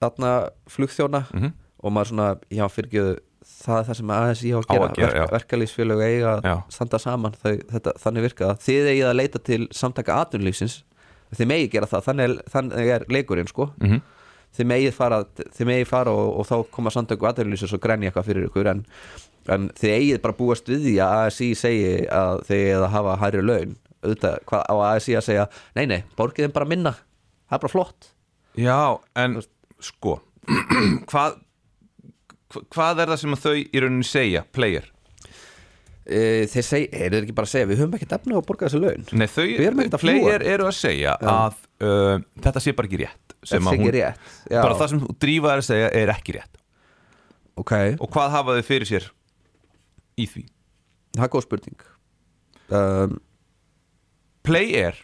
[SPEAKER 5] þarna flugþjóna
[SPEAKER 4] Mhm.
[SPEAKER 5] og maður svona, já fyrirgjöðu það er það sem ASI á að
[SPEAKER 4] Á
[SPEAKER 5] gera,
[SPEAKER 4] að gera, já.
[SPEAKER 5] verkalýsfélög eiga að
[SPEAKER 4] Já.
[SPEAKER 5] standa saman þau, þetta, þannig virka það þið eigið að leita til samtaka atvinnulífsins þið megi gera það, þannig er, þannig er leikurinn sko -hmm. þið megi fara, þið megi fara og, og þá koma samtöku aðeirlýsins og grenja eitthvað fyrir ykkur en, en þið eigið bara búast við því að ASI segi að þið eigið að hafa hærri laun auðvitað, hvað á ASI að segja nei nei, borgið þeim bara minna það er bara flott
[SPEAKER 4] Já, en sko hvað, hva- hvað er það sem að þau í rauninni segja, player?
[SPEAKER 5] e, þeir segi, er þeir ekki bara að segja við höfum ekki defnið að borga þessi laun
[SPEAKER 4] Nei,
[SPEAKER 5] Við erum ekkert
[SPEAKER 4] þau,
[SPEAKER 5] að fljúga.
[SPEAKER 4] player eru að segja að uh, þetta sé bara ekki rétt sem
[SPEAKER 5] Þetta
[SPEAKER 4] að
[SPEAKER 5] sé ekki rétt, já.
[SPEAKER 4] Bara það sem þú drífa er að segja er ekki rétt
[SPEAKER 5] ok,
[SPEAKER 4] Og hvað hafa þau fyrir sér í því?
[SPEAKER 5] það er góð spurning um,
[SPEAKER 4] Player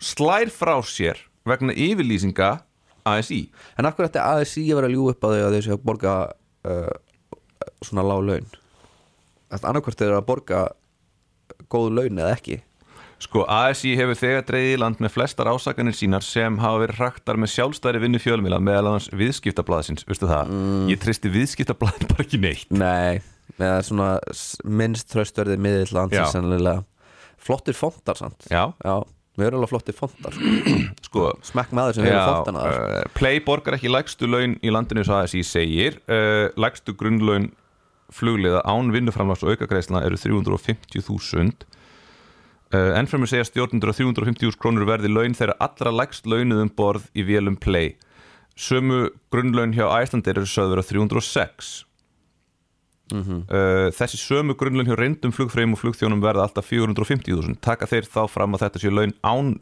[SPEAKER 4] slær frá sér vegna yfirlýsinga ASI
[SPEAKER 5] en af hverju ætti ASI að vera að ljú upp að þau að þau séu að borga uh, svona lág laun annarkvært þau eru að borga góð laun eða ekki
[SPEAKER 4] Sko, ASI hefur þegar dreigið í land með flestar ásakanir sínar sem hafa verið raktar með sjálfstæri vinnu fjölmila meðal annars viðskiptablaðsins, veistu það? Ég treysti viðskiptablaðin bara ekki neitt.
[SPEAKER 5] nei, eða svona s- minnst tröstverðið miðill
[SPEAKER 4] Já.
[SPEAKER 5] landsins sennilega flottir fontar samt
[SPEAKER 4] Já.
[SPEAKER 5] við erum alveg flottir fontar
[SPEAKER 4] Sko,
[SPEAKER 5] smekk maður sem
[SPEAKER 4] já,
[SPEAKER 5] hefur fontana þar
[SPEAKER 4] uh, Play borgar ekki lægstu laun í landinu eins og ASI segir. Uh, lægstu grunnlaun flugliða án vinnuframlags og aukagreisla eru 350.000 Uh, ennfremur segja stjórnundur að 350.000 krónur verði laun þegar allra lægst launuð um borð í vélum play. Sömu grunnlaun hjá Æslandir eru sögður að 306. Uh, þessi sömu grunnlaun hjá reyndum flugfreyjum og flugþjónum verða alltaf 450.000. Taka þeir þá fram að þetta séu laun án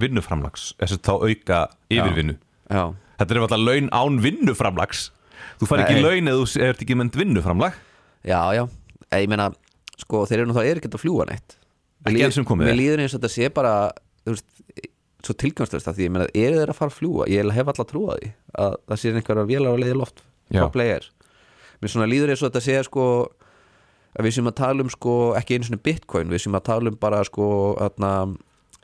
[SPEAKER 4] vinnuframlags, þessi þá auka yfirvinnu.
[SPEAKER 5] já,
[SPEAKER 4] Þetta er alltaf laun án vinnuframlags. Þú fær ekki
[SPEAKER 5] Nei.
[SPEAKER 4] laun eða þú ert ekki mynd vinnuframlag.
[SPEAKER 5] já, já Eh, ég meina, sko þeir eru nú þá er ekkert að fljúa neitt Mér
[SPEAKER 4] Ekki
[SPEAKER 5] líður-
[SPEAKER 4] enn sem komið er.
[SPEAKER 5] mér líður eins og þetta sé bara þú veist, svo tilgangslöst að því ég meina, eru þeir að fara að fljúa, ég hef alltaf trúa því að það sé einhverja vélar að leiði loft
[SPEAKER 4] Já.
[SPEAKER 5] frá player, mér svona líður eins og þetta sé sko að við séum að tala um sko, ekki einu svona bitcoin við séum að tala um bara sko þarna,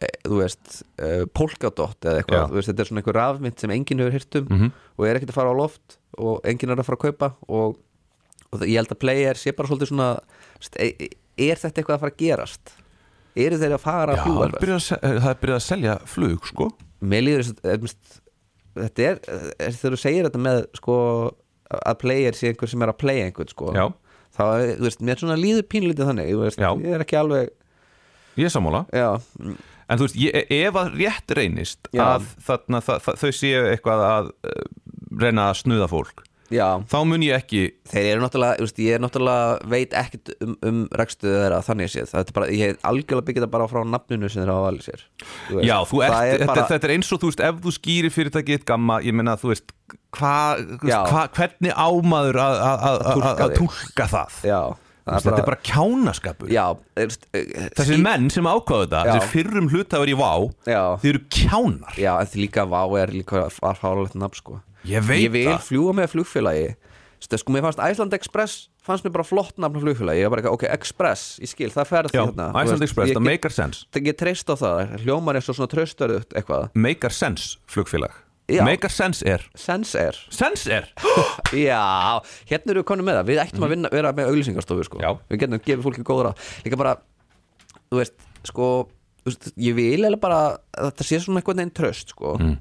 [SPEAKER 5] e, þú veist, e, polkadot eða
[SPEAKER 4] Já. Mhm.
[SPEAKER 5] eitthvað, þú veist, þetta er svona einhver rafmynd sem enginn hefur hirt um og er ekkert að fara á loft og enginn er að fara að kaupa og, og það- ég held að player sé bara svolítið svona þú veist, e, e, er þetta eitthvað að fara að gerast? eru þeir að fara að
[SPEAKER 4] Já,
[SPEAKER 5] fljúga
[SPEAKER 4] það er
[SPEAKER 5] alveg?
[SPEAKER 4] byrjað að se- eh, það er byrjað að selja flug, sko.
[SPEAKER 5] mér líður þess að mist, þetta er, er þegar þú segir þetta með sko, að player sé einhver sem er að playa einhvern sko,
[SPEAKER 4] Já.
[SPEAKER 5] þá er, þú veist, mér svona líður pínlítið þannig, þú veist,
[SPEAKER 4] Já.
[SPEAKER 5] ég er ekki alveg
[SPEAKER 4] Ég er sammála.
[SPEAKER 5] já,
[SPEAKER 4] En þú veist, ég, e- ef að rétt reynist
[SPEAKER 5] Já.
[SPEAKER 4] að þarna, það, það, þau séu eitthvað að uh, reyna að snuða fólk
[SPEAKER 5] já
[SPEAKER 4] þá mun ég ekki
[SPEAKER 5] þeir eru náttúrulega, þú veist, ég er náttúrulega veit ekkert um, um rekstuðu þeirra þannig séð, það er bara, ég hef algjörlega byggja þetta bara frá nafninu sem þeir hafa valið sér þú veist.
[SPEAKER 4] Já, þú ert,
[SPEAKER 5] Það
[SPEAKER 4] þetta,
[SPEAKER 5] bara,
[SPEAKER 4] þetta er eins og þú veist ef þú skýrir fyrirtækið þitt gamma ég meina, þú veist, hva, þú veist,
[SPEAKER 5] Já.
[SPEAKER 4] hva, hvernig ámaður að- að- að-
[SPEAKER 5] Að túlka
[SPEAKER 4] að að
[SPEAKER 5] þig.
[SPEAKER 4] túlka það,
[SPEAKER 5] já,
[SPEAKER 4] Þú veist, þetta er bara kjánaskapur
[SPEAKER 5] já, þú veist, eh,
[SPEAKER 4] Þessir menn sem ákvaðu þetta,
[SPEAKER 5] Já.
[SPEAKER 4] þessir fyrrum hlutafur í VÁ
[SPEAKER 5] Já.
[SPEAKER 4] þeir eru kjánar
[SPEAKER 5] Já, en því líka VÁ er líka farfáralegt nafn sko
[SPEAKER 4] Ég veit
[SPEAKER 5] Ég vil
[SPEAKER 4] það.
[SPEAKER 5] fljúa með flugfélagi Stu, sko, mér fannst Iceland Express fannst mér bara flott nafn á flugfélagi, ég var bara ekki, ok, Express ég skil, það ferð
[SPEAKER 4] Já,
[SPEAKER 5] þarna
[SPEAKER 4] Iceland Express, það
[SPEAKER 5] make
[SPEAKER 4] meikar sens
[SPEAKER 5] hérna, Ég treyst á það, hljómar eins og svona tröstverðut eitthvað,
[SPEAKER 4] meikar sens flugfélag
[SPEAKER 5] Já.
[SPEAKER 4] meikar sens er
[SPEAKER 5] sens er
[SPEAKER 4] sens er
[SPEAKER 5] Já, hérna eru við konum með það Við ættum að vinna, vera með auglýsingarstofu sko.
[SPEAKER 4] Mhm. Já.
[SPEAKER 5] Við getum að gefa fólki góðra Líka bara, þú veist, sko þú veist, Ég vil eða bara að Þetta sé svona einhvern veginn tröst sko.
[SPEAKER 4] Mm.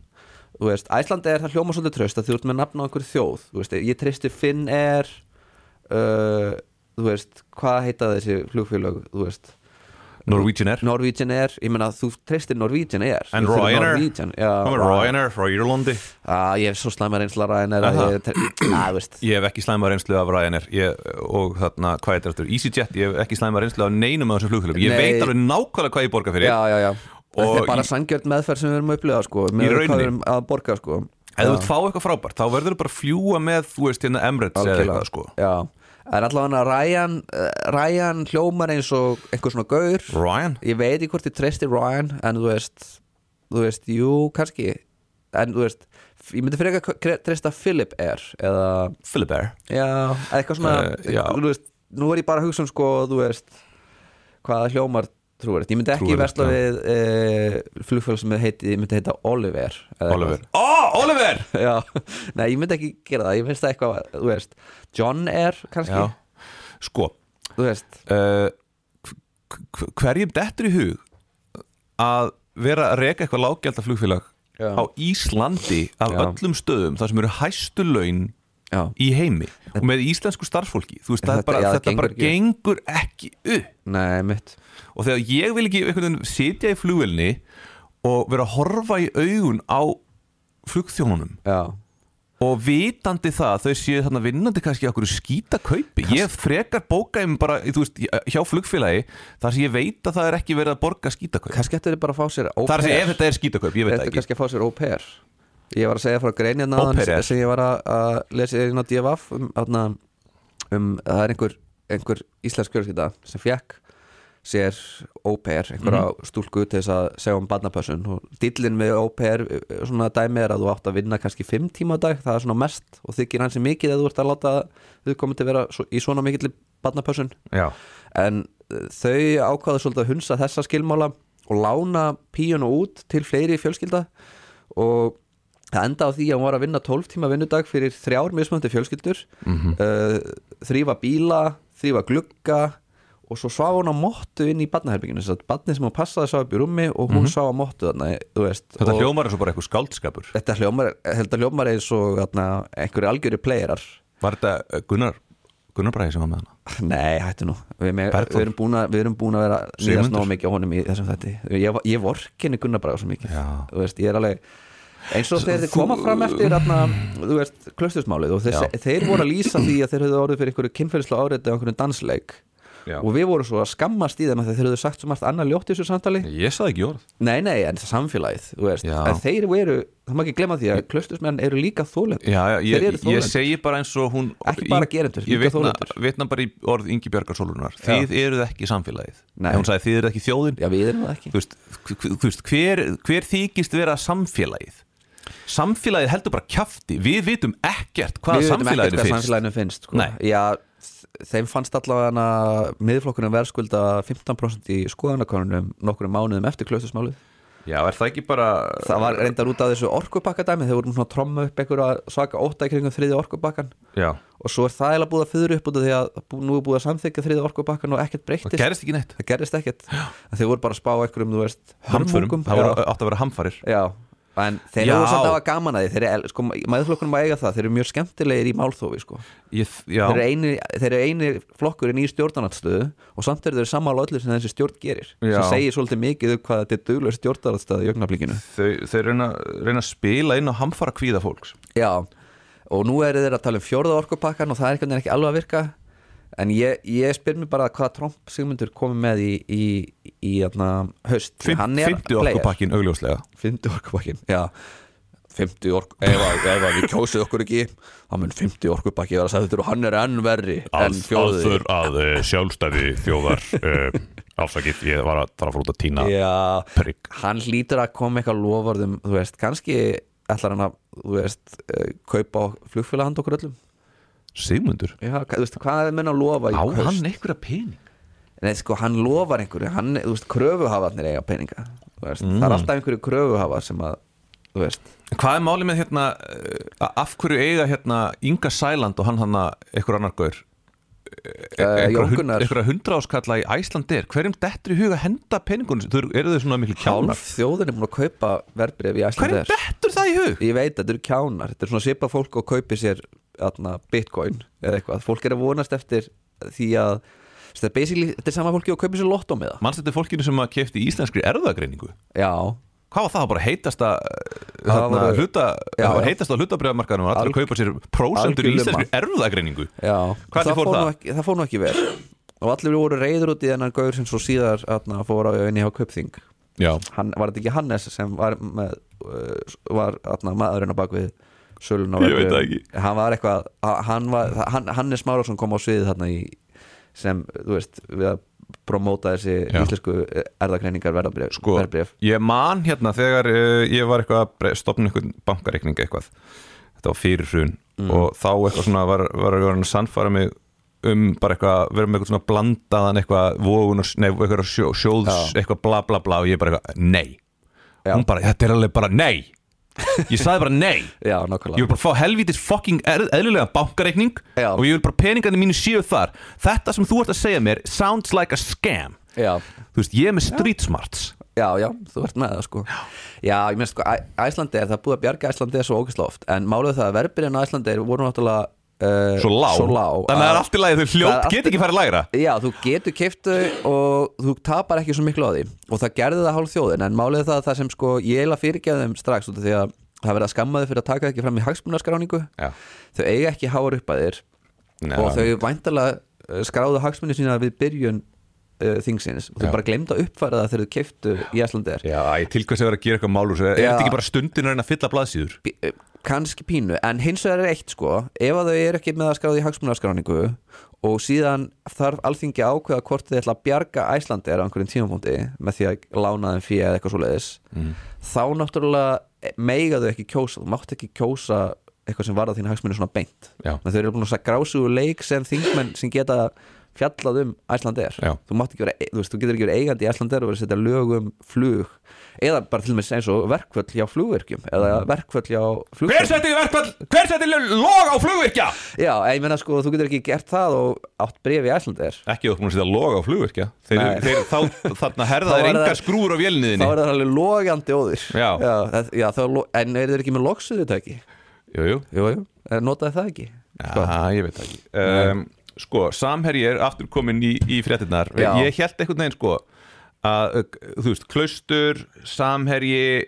[SPEAKER 5] Þú veist, Æslandi er það hljóma svolítið tröst að þú ert með nafn á einhverju þjóð Þú veist, Ég treysti Finn er uh, Þú veist, hvað heita þessi flugfélög Þú veist,
[SPEAKER 4] Norwegian er
[SPEAKER 5] Norwegian Air Ég meina, þú treystir Norwegian Air
[SPEAKER 4] En
[SPEAKER 5] Þú treystir
[SPEAKER 4] Ryanair
[SPEAKER 5] Norwegian, já,
[SPEAKER 4] Hvað með Ryanair frá Írlandi?
[SPEAKER 5] Á, Ég hef svo slæmar einsla Ryanair að
[SPEAKER 4] Aha.
[SPEAKER 5] ég tre- Á, þú veist,
[SPEAKER 4] Ég hef ekki slæma reynslu af Ryanair ég, og þarna, hvað er þetta aftur? EasyJet, ég hef ekki slæma reynslu af neinum af þessum flugfélagum Ég
[SPEAKER 5] Nei.
[SPEAKER 4] veit alveg nákvæmlega hvað ég borga fyrir
[SPEAKER 5] já, já, já. þetta
[SPEAKER 4] Og
[SPEAKER 5] er bara
[SPEAKER 4] í-
[SPEAKER 5] sangjörn meðferð sem við erum að upplifa sko, með
[SPEAKER 4] rauninni.
[SPEAKER 5] hvað við erum að borga sko.
[SPEAKER 4] Ef þú vilt fá eitthvað frábært, þá verður þú bara að fljúa með, þú veist, hérna Emirates eða eitthvað, sko
[SPEAKER 5] já. en allavega Ryan, uh, Ryan hljómar eins og einhver svona gaur
[SPEAKER 4] Ryan?
[SPEAKER 5] ég veit ekki hvort ég treysti Ryan en þú veist, þú veist, jú, kannski en þú veist ég myndi fyrir ekki að treysta Philip Air eða,
[SPEAKER 4] Philip Air
[SPEAKER 5] já, eða eitthvað svona
[SPEAKER 4] Eh, já.
[SPEAKER 5] þú veist, nú er ég bara að hugsa um sko, þú veist hvaða hljómar trúverðist, ég myndi ekki
[SPEAKER 4] Trúverðugt,
[SPEAKER 5] versla
[SPEAKER 4] já.
[SPEAKER 5] við uh, flugfjöl sem heiti, ég myndi heita Oliver eða eitthvað.
[SPEAKER 4] Oliver Ó, oh, Oliver!
[SPEAKER 5] Já, nei, ég myndi ekki gera það Ég finnst það eitthvað, þú veist John Air, kannski,
[SPEAKER 4] Já, sko
[SPEAKER 5] þú veist
[SPEAKER 4] Eh, uh, hverjum dettur í hug að vera að reka eitthvað lággjaldaflugfélag
[SPEAKER 5] Já.
[SPEAKER 4] á Íslandi af
[SPEAKER 5] Já.
[SPEAKER 4] öllum stöðum þar sem eru hæstu laun
[SPEAKER 5] Já.
[SPEAKER 4] í heimi og með íslensku starfsfólki þú veist, þetta,
[SPEAKER 5] Þetta-
[SPEAKER 4] bara,
[SPEAKER 5] já, það
[SPEAKER 4] þetta bara gengur ekki upp
[SPEAKER 5] Nei, mitt
[SPEAKER 4] og þegar ég vil ekki einhvern veginn sitja í flugvelni og vera að horfa í augun á flugþjónunum
[SPEAKER 5] Já,
[SPEAKER 4] og vitandi það að þau séu þarna vinnandi kannski okkur skýta kaupi ég frekar bókaði mig bara þú veist, hjá flugfélagi þar sem ég veit að það er ekki verið að borga skýta kaup
[SPEAKER 5] kannski ættu þið bara að fá sér au
[SPEAKER 4] þar sem
[SPEAKER 5] pair.
[SPEAKER 4] ef þetta er skýta kaup, ég veit
[SPEAKER 5] Þetta
[SPEAKER 4] það
[SPEAKER 5] er
[SPEAKER 4] ekki
[SPEAKER 5] kannski að fá sér au pair Ég var að segja frá greinina
[SPEAKER 4] Au
[SPEAKER 5] áðan
[SPEAKER 4] pair.
[SPEAKER 5] sem ég var að, að lesa inn á DFF um, þarna, um það er einhver, einhver íslensk kjörskita sem fekk sér au pair, einhverja
[SPEAKER 4] Mhm.
[SPEAKER 5] stúlku til þess að segja um barnapössun og dillin með au pair eh, svona dæmi er að þú átt að vinna kannski fimm tíma á dag, það er svona mest og þykir hansi mikið að þú ert að láta þau komið til að vera svo- í svona mikill barnapössun
[SPEAKER 4] Já.
[SPEAKER 5] en eh, þau ákvaða svolítið að hunsa þessa skilmála og lána píuna út til fleiri fjölskylda og það enda á því að hún var að vinna 12 tíma vinnudag fyrir þrjár mismöndi fjölskyldur mm
[SPEAKER 4] Mhm.
[SPEAKER 5] þrýfa bíla þrýfa glugga og svo svaf hún á móttu inn í barnaherbygginu þess að barnið sem hún passaði svaf upp í rúmi og hún mm -hmm. svaf á móttu þarna þú veist,
[SPEAKER 4] Mhm. þetta
[SPEAKER 5] og
[SPEAKER 4] hljómar er svo bara eitthvað skáldskapur
[SPEAKER 5] þetta hljómar, þetta hljómar eins og þarna, einhverju algjöri playerar
[SPEAKER 4] var þetta uh, Gunnar Gunnar Bræði sem var með hana
[SPEAKER 5] Nei, hættu nú Við, með,
[SPEAKER 4] Bergþór.
[SPEAKER 5] við, erum, búin að, við erum búin að vera nýðast
[SPEAKER 4] Sigmundur.
[SPEAKER 5] nóg mikið á honum í þessum þætti Ég, ég vorkinni Gunnar Braga svo mikið
[SPEAKER 4] Já.
[SPEAKER 5] Þú veist, Ég er alveg eins og þeir koma fram eftir atna, þú veist, klustusmálið og þess, þeir voru að lýsa því að þeir höfðu orðið fyrir einhverju kynferðislega áriðið og einhverju dansleik
[SPEAKER 4] Já.
[SPEAKER 5] og við vorum svo að skammast í þeim að þeir höfðu sagt svo margt annað ljótt í þessu samtali
[SPEAKER 4] ég saði ekki orð
[SPEAKER 5] Nei, nei, en samfélagið, þú veist
[SPEAKER 4] Já.
[SPEAKER 5] en þeir eru, það má ekki glemma því að klustusmenn eru líka þólend
[SPEAKER 4] já, já, ég,
[SPEAKER 5] Þeir eru
[SPEAKER 4] ég,
[SPEAKER 5] þolendur.
[SPEAKER 4] segi bara eins og hún
[SPEAKER 5] Ekki bara gerendur,
[SPEAKER 4] ég
[SPEAKER 5] líka
[SPEAKER 4] vitna,
[SPEAKER 5] þolendur.
[SPEAKER 4] vitna bara í orð Ingi Bjargar Solunar þið eruð ekki samfélagið
[SPEAKER 5] Nei.
[SPEAKER 4] Ef hún sagði þið eruð ekki þjóðin
[SPEAKER 5] Já, við erum það ekki
[SPEAKER 4] þú veist, hv- hv- þú veist hver, hver þykist vera samfélagið samfélagið heldur bara kjafti við vitum ekkert hvað
[SPEAKER 5] Við vitum ekkert
[SPEAKER 4] samfélagið
[SPEAKER 5] hvað
[SPEAKER 4] finnst
[SPEAKER 5] samfélaginu finnst sko.
[SPEAKER 4] Nei.
[SPEAKER 5] Já, þ- þeim fannst allavega miðflokkurinn verðskulda 15% í skoðanakonunum nokkrum mánuðum eftir klaustusmálið
[SPEAKER 4] já, er það ekki bara
[SPEAKER 5] Það var reyndar út af þessu orkubakkadæmi þeir voru svona að tromma upp einhverja svaka óta í kringum þriði orkubakkan
[SPEAKER 4] já,
[SPEAKER 5] og svo er það eiginlega búið að fyrir upp út af því að bú- nú er búið að samþykja þriði orkubakkan og ekkert breyttist
[SPEAKER 4] það gerist ekki neitt
[SPEAKER 5] það gerist ekkert En þeir voru bara að spá einhverjum, þú veist,
[SPEAKER 4] hamförum,
[SPEAKER 5] hörmungum.
[SPEAKER 4] það
[SPEAKER 5] Já.
[SPEAKER 4] voru, átt að vera hamfarir
[SPEAKER 5] Já, en þeir
[SPEAKER 4] Já.
[SPEAKER 5] eru samt að hafa gaman að því þeir eru, sko, maðurflokkunum að eiga það þeir eru mjög skemmtilegir í málþófi, sko
[SPEAKER 4] ég, já,
[SPEAKER 5] þeir eru eini, þeir eru eini flokkurinn í stjórnarnatstöðu og samt eru þeir sammála öllu sem þessi stjórn gerir
[SPEAKER 4] Já.
[SPEAKER 5] sem segir svolítið mikið um hvað þetta er duglega stjórnarnatstöða í augnablikinu
[SPEAKER 4] þau, þau reyna, reyna að spila inn á hamfara kvíða fólks
[SPEAKER 5] Já, og nú eru þeir að tala um fjórða orkupakkan og það er einhvern veginn ekki alveg að virka en ég, ég spyr mér bara hvað Trump Sigmundur komi með í, í, í, hérna, í höst
[SPEAKER 4] Fim- 50 orkupakkin augljóslega
[SPEAKER 5] 50 orkupakkin já 50 orku, ef, að- ef að við kjósið okkur ekki þá mun 50 orkupakki vera sættur og hann er enn verri enn fjóðið
[SPEAKER 7] að eh, sjálfstæði þjóðar uh, afsakið, ég var að fara að fór út að týna
[SPEAKER 5] Já,
[SPEAKER 7] prigg
[SPEAKER 5] hann lítur að koma eitthvað lofarðum, þú veist, kannski ætlar hann að, þú veist, eh, kaupa flugfélag handa okkur öllum
[SPEAKER 4] Sigmundur,
[SPEAKER 5] Já, þú veist, hvað er menn að lofa í
[SPEAKER 4] á
[SPEAKER 5] haust?
[SPEAKER 4] hann einhverja pening
[SPEAKER 5] Nei, sko, hann lofar einhverju, hann, þú veist, kröfuhafarnir eiga peninga, þú veist, það
[SPEAKER 4] Mm.
[SPEAKER 5] er alltaf einhverju kröfuhafar sem að, þú veist
[SPEAKER 4] Hvað er málið með hérna uh, af hverju eiga hérna Inga Sæland og hann hann einhver annar gaur E-
[SPEAKER 5] uh,
[SPEAKER 4] einhverja
[SPEAKER 5] Jón
[SPEAKER 4] hund-
[SPEAKER 5] Gunnar,
[SPEAKER 4] einhverja hundra áskalla í Æslandir hverjum dettur í huga henda peningunum eru, eru þau svona miklu kjánar
[SPEAKER 5] hálf þjóðin er búin að kaupa verbreyf í Æslandi
[SPEAKER 4] hverjum dettur það í hug
[SPEAKER 5] ég veit, þetta eru kjánar þetta er svona svipa fólk og kaupi sér atna, bitcoin eða eitthvað, fólk er að vonast eftir því að þetta er, basically- þetta er sama fólki og kaupi sér lottó með það
[SPEAKER 4] mannst þetta er fólkinu sem að kefti íslenskri erðagreiningu
[SPEAKER 5] já,
[SPEAKER 4] hvað var það, það var bara heitasta eh,
[SPEAKER 5] Það
[SPEAKER 4] þarna,
[SPEAKER 5] voru-
[SPEAKER 4] hluta,
[SPEAKER 5] Já,
[SPEAKER 4] það var
[SPEAKER 5] já.
[SPEAKER 4] heitasta hlutabriðamarkaðum var allir
[SPEAKER 5] Alg-
[SPEAKER 4] að kaupa sér prósendur í
[SPEAKER 5] algjör
[SPEAKER 4] íslenskri erðagreiningu
[SPEAKER 5] já
[SPEAKER 4] Hvernig fór það?
[SPEAKER 5] Nú ekki, það fór nú ekki vel og allir voru reyður út í þennan gaur sem svo síðar atna, fór að vinni hjá kaupþing
[SPEAKER 4] já,
[SPEAKER 5] hann, var þetta ekki Hannes sem var, með, uh, var atna, maðurinn á bakvið sölun á
[SPEAKER 4] Ég veit
[SPEAKER 5] verbrigðum?
[SPEAKER 4] það ekki.
[SPEAKER 5] hann var eitthvað, hann var, hann, Hannes Márásson kom á sviðið þarna í sem, þú veist, við að promóta þessi
[SPEAKER 4] Já.
[SPEAKER 5] íslensku eh, erðagreiningar verðabrif,
[SPEAKER 4] sko, ég man hérna þegar uh, ég var eitthvað að bre- stofna einhvern bankareikning eitthvað þetta var fyrir hrun
[SPEAKER 5] Mm.
[SPEAKER 4] og þá eitthvað svona var, var að vera að sannfara mig um bara eitthvað, vera með eitthvað svona blandaðan eitthvað vogun og, nei, eitthvað sjó, sjóðs eitthvað bla bla bla og ég bara eitthvað, nei
[SPEAKER 5] Já.
[SPEAKER 4] hún bara, þetta er alveg bara nei ég sagði bara nei
[SPEAKER 5] Já,
[SPEAKER 4] ég vil
[SPEAKER 5] nákvæmlega
[SPEAKER 4] bara fá helvítis fucking er, eðlilega bankareikning
[SPEAKER 5] Já.
[SPEAKER 4] og ég vil bara peningandi mínu séu þar þetta sem þú ert að segja mér sounds like a scam
[SPEAKER 5] Já,
[SPEAKER 4] þú veist, ég er með street smarts
[SPEAKER 5] já, já, þú ert með það sko Já, ég meina sko, Æ- Æslandi er það er búið að bjarga Æslandi svo ógæsla oft En málið er það að verbirinn á Æslandi er voru náttúrulega uh,
[SPEAKER 4] Svo lág,
[SPEAKER 5] svo lág
[SPEAKER 4] Þannig að það er allt í lagi, þau
[SPEAKER 5] Það er
[SPEAKER 4] hljótt
[SPEAKER 5] allt
[SPEAKER 4] get ekki farið lægra
[SPEAKER 5] Já, þú getur keift þau og þú tapar ekki svo miklu á því og það gerði það hálf þjóðin en málið er það að það sem sko ég eiginlega fyrirgeði þeim strax út af því að það verða skammaði fyrir að taka það ekki fram í hagsmunaskráningu
[SPEAKER 4] Já.
[SPEAKER 5] þau eiga ekki háar upp að þér
[SPEAKER 4] Nei,
[SPEAKER 5] og þau væntalega skráðu hagsmunni sína við byrjun uh, þingsins og þau
[SPEAKER 4] Já.
[SPEAKER 5] bara glemdu að uppfæra það þegar þau keiftu í Æslandi
[SPEAKER 4] Já, ég til hvers að vera að gera eitthvað málur Er
[SPEAKER 5] Já.
[SPEAKER 4] þetta ekki bara stundin að reyna að fylla blaðsýður?
[SPEAKER 5] Bí- eh, kannski pínu, en hins vegar er eitt sko, ef að þau eru ekki með að skráði í hagsmunaskráningu og síðan þarf alþingi að ákveða hvort þau ætla að bjarga Æslandi er á einhverjum tímapunkti með því að lána þeim fyrir eða eitthvað svoleiðis þá náttúrulega meiga þau ekki kjósa, þú mátt ekki kjósa eitthvað sem varða þín hagsmunni svona beint
[SPEAKER 4] Já.
[SPEAKER 5] en þau eru búin að grásugu leik sem þingmenn sem geta fjallað um Æslandir
[SPEAKER 4] Já.
[SPEAKER 5] þú, mátt ekki vera, e- þú, veist, þú getur ekki verið eigandi í Æslandir og verið að setja lög um flug eða bara til og með eins og verkvöll hjá flugverkjum eða verkvöll hjá
[SPEAKER 4] Mm. Hver
[SPEAKER 5] flugverkjum
[SPEAKER 4] setti verkfall- hver setti log á flugvirkja?
[SPEAKER 5] Já, en ég meina sko, þú getur ekki gert það og átt bref í Æslandir
[SPEAKER 4] Ekki þú búin að setja log á flugvirkja Þeir,
[SPEAKER 5] Nei.
[SPEAKER 4] þeir, þá, Þarna herða
[SPEAKER 5] Þá
[SPEAKER 4] þeir
[SPEAKER 5] er það-
[SPEAKER 4] engar skrúur á
[SPEAKER 5] þá
[SPEAKER 4] vélniðinni
[SPEAKER 5] er það alveg logandi óður
[SPEAKER 4] Já.
[SPEAKER 5] já, það, já þá, er lo- en eru þeir ekki með loksuðutæki?
[SPEAKER 4] Jú, jú
[SPEAKER 5] Jú, jú, eh, notaði það ekki? Sko.
[SPEAKER 4] Já, ég veit það ekki um, Sko, samherji er aftur komin í, í fréttinnar
[SPEAKER 5] Já.
[SPEAKER 4] Ég held einhvern veginn sko að, uh, þú veist, klaustur samherji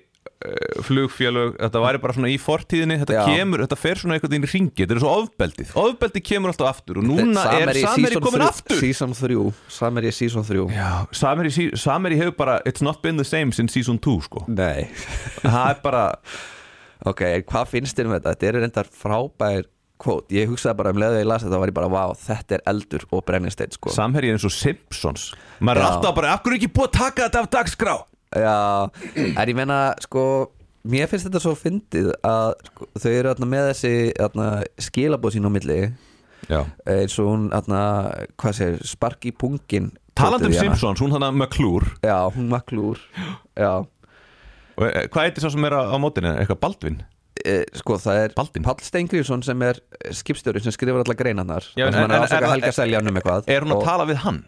[SPEAKER 4] uh, flugfélög, þetta væri bara svona í fortíðinni þetta
[SPEAKER 5] Já.
[SPEAKER 4] kemur, þetta fer svona einhvern veginn í ringi þetta er svo ofbeldið, ofbeldið kemur alltaf aftur og núna
[SPEAKER 5] Samherji
[SPEAKER 4] er samherji
[SPEAKER 5] season
[SPEAKER 4] komin
[SPEAKER 5] þrjú-
[SPEAKER 4] aftur
[SPEAKER 5] Season 3, Samherji season 3
[SPEAKER 4] Já, samherji, sí- samherji hefur bara it's not been the same since season 2 sko
[SPEAKER 5] Nei
[SPEAKER 4] það er bara,
[SPEAKER 5] Ok, en hvað finnst þér um þetta? Þetta er reyndar frábær kvót Ég hugsaði bara um leðu að ég las þetta var ég bara Vá, þetta er eldur og brennisteinn sko
[SPEAKER 4] samherji er eins og Simpsons maður er
[SPEAKER 5] Já.
[SPEAKER 4] alltaf bara, af hverju er ekki búið að taka þetta af dagskrá
[SPEAKER 5] Já, en ég meina sko Mér finnst þetta svo fyndið að sko, þau eru atna, með þessi atna, skilabóð sín á milli
[SPEAKER 4] Já
[SPEAKER 5] eins og hún, atna, hvað segir, spark í pungin
[SPEAKER 4] Talandi um
[SPEAKER 5] kvótið í hana.
[SPEAKER 4] Simpsons, hún þannig með klúr
[SPEAKER 5] Já, hún maklúr Já,
[SPEAKER 4] Og, eh, Hvað heitir sá sem er á, á mótinu? Eitthvað Baldvin?
[SPEAKER 5] e, sko það er
[SPEAKER 4] Baldvin.
[SPEAKER 5] Pall Stengriðsson sem er skipstjóri sem skrifar allar greinarnar
[SPEAKER 4] Já, en-
[SPEAKER 5] þar sem hann
[SPEAKER 4] en-
[SPEAKER 5] er að
[SPEAKER 4] en-
[SPEAKER 5] ásaka
[SPEAKER 4] er-
[SPEAKER 5] Helga Seljan um eitthvað
[SPEAKER 4] Er hún að
[SPEAKER 5] og-
[SPEAKER 4] tala við hann?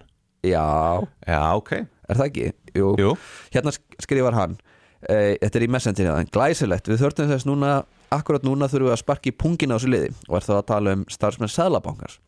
[SPEAKER 5] Já,
[SPEAKER 4] Já, ok
[SPEAKER 5] er það ekki? Jú,
[SPEAKER 4] Jú.
[SPEAKER 5] hérna sk- skrifar hann e, Þetta er í messenginni þannig Glæsilegt, við þörfum þess núna Akkurat núna þurfum við að sparki pungin á þessu liði Og er þá að tala um starfsmenn sæðlabankars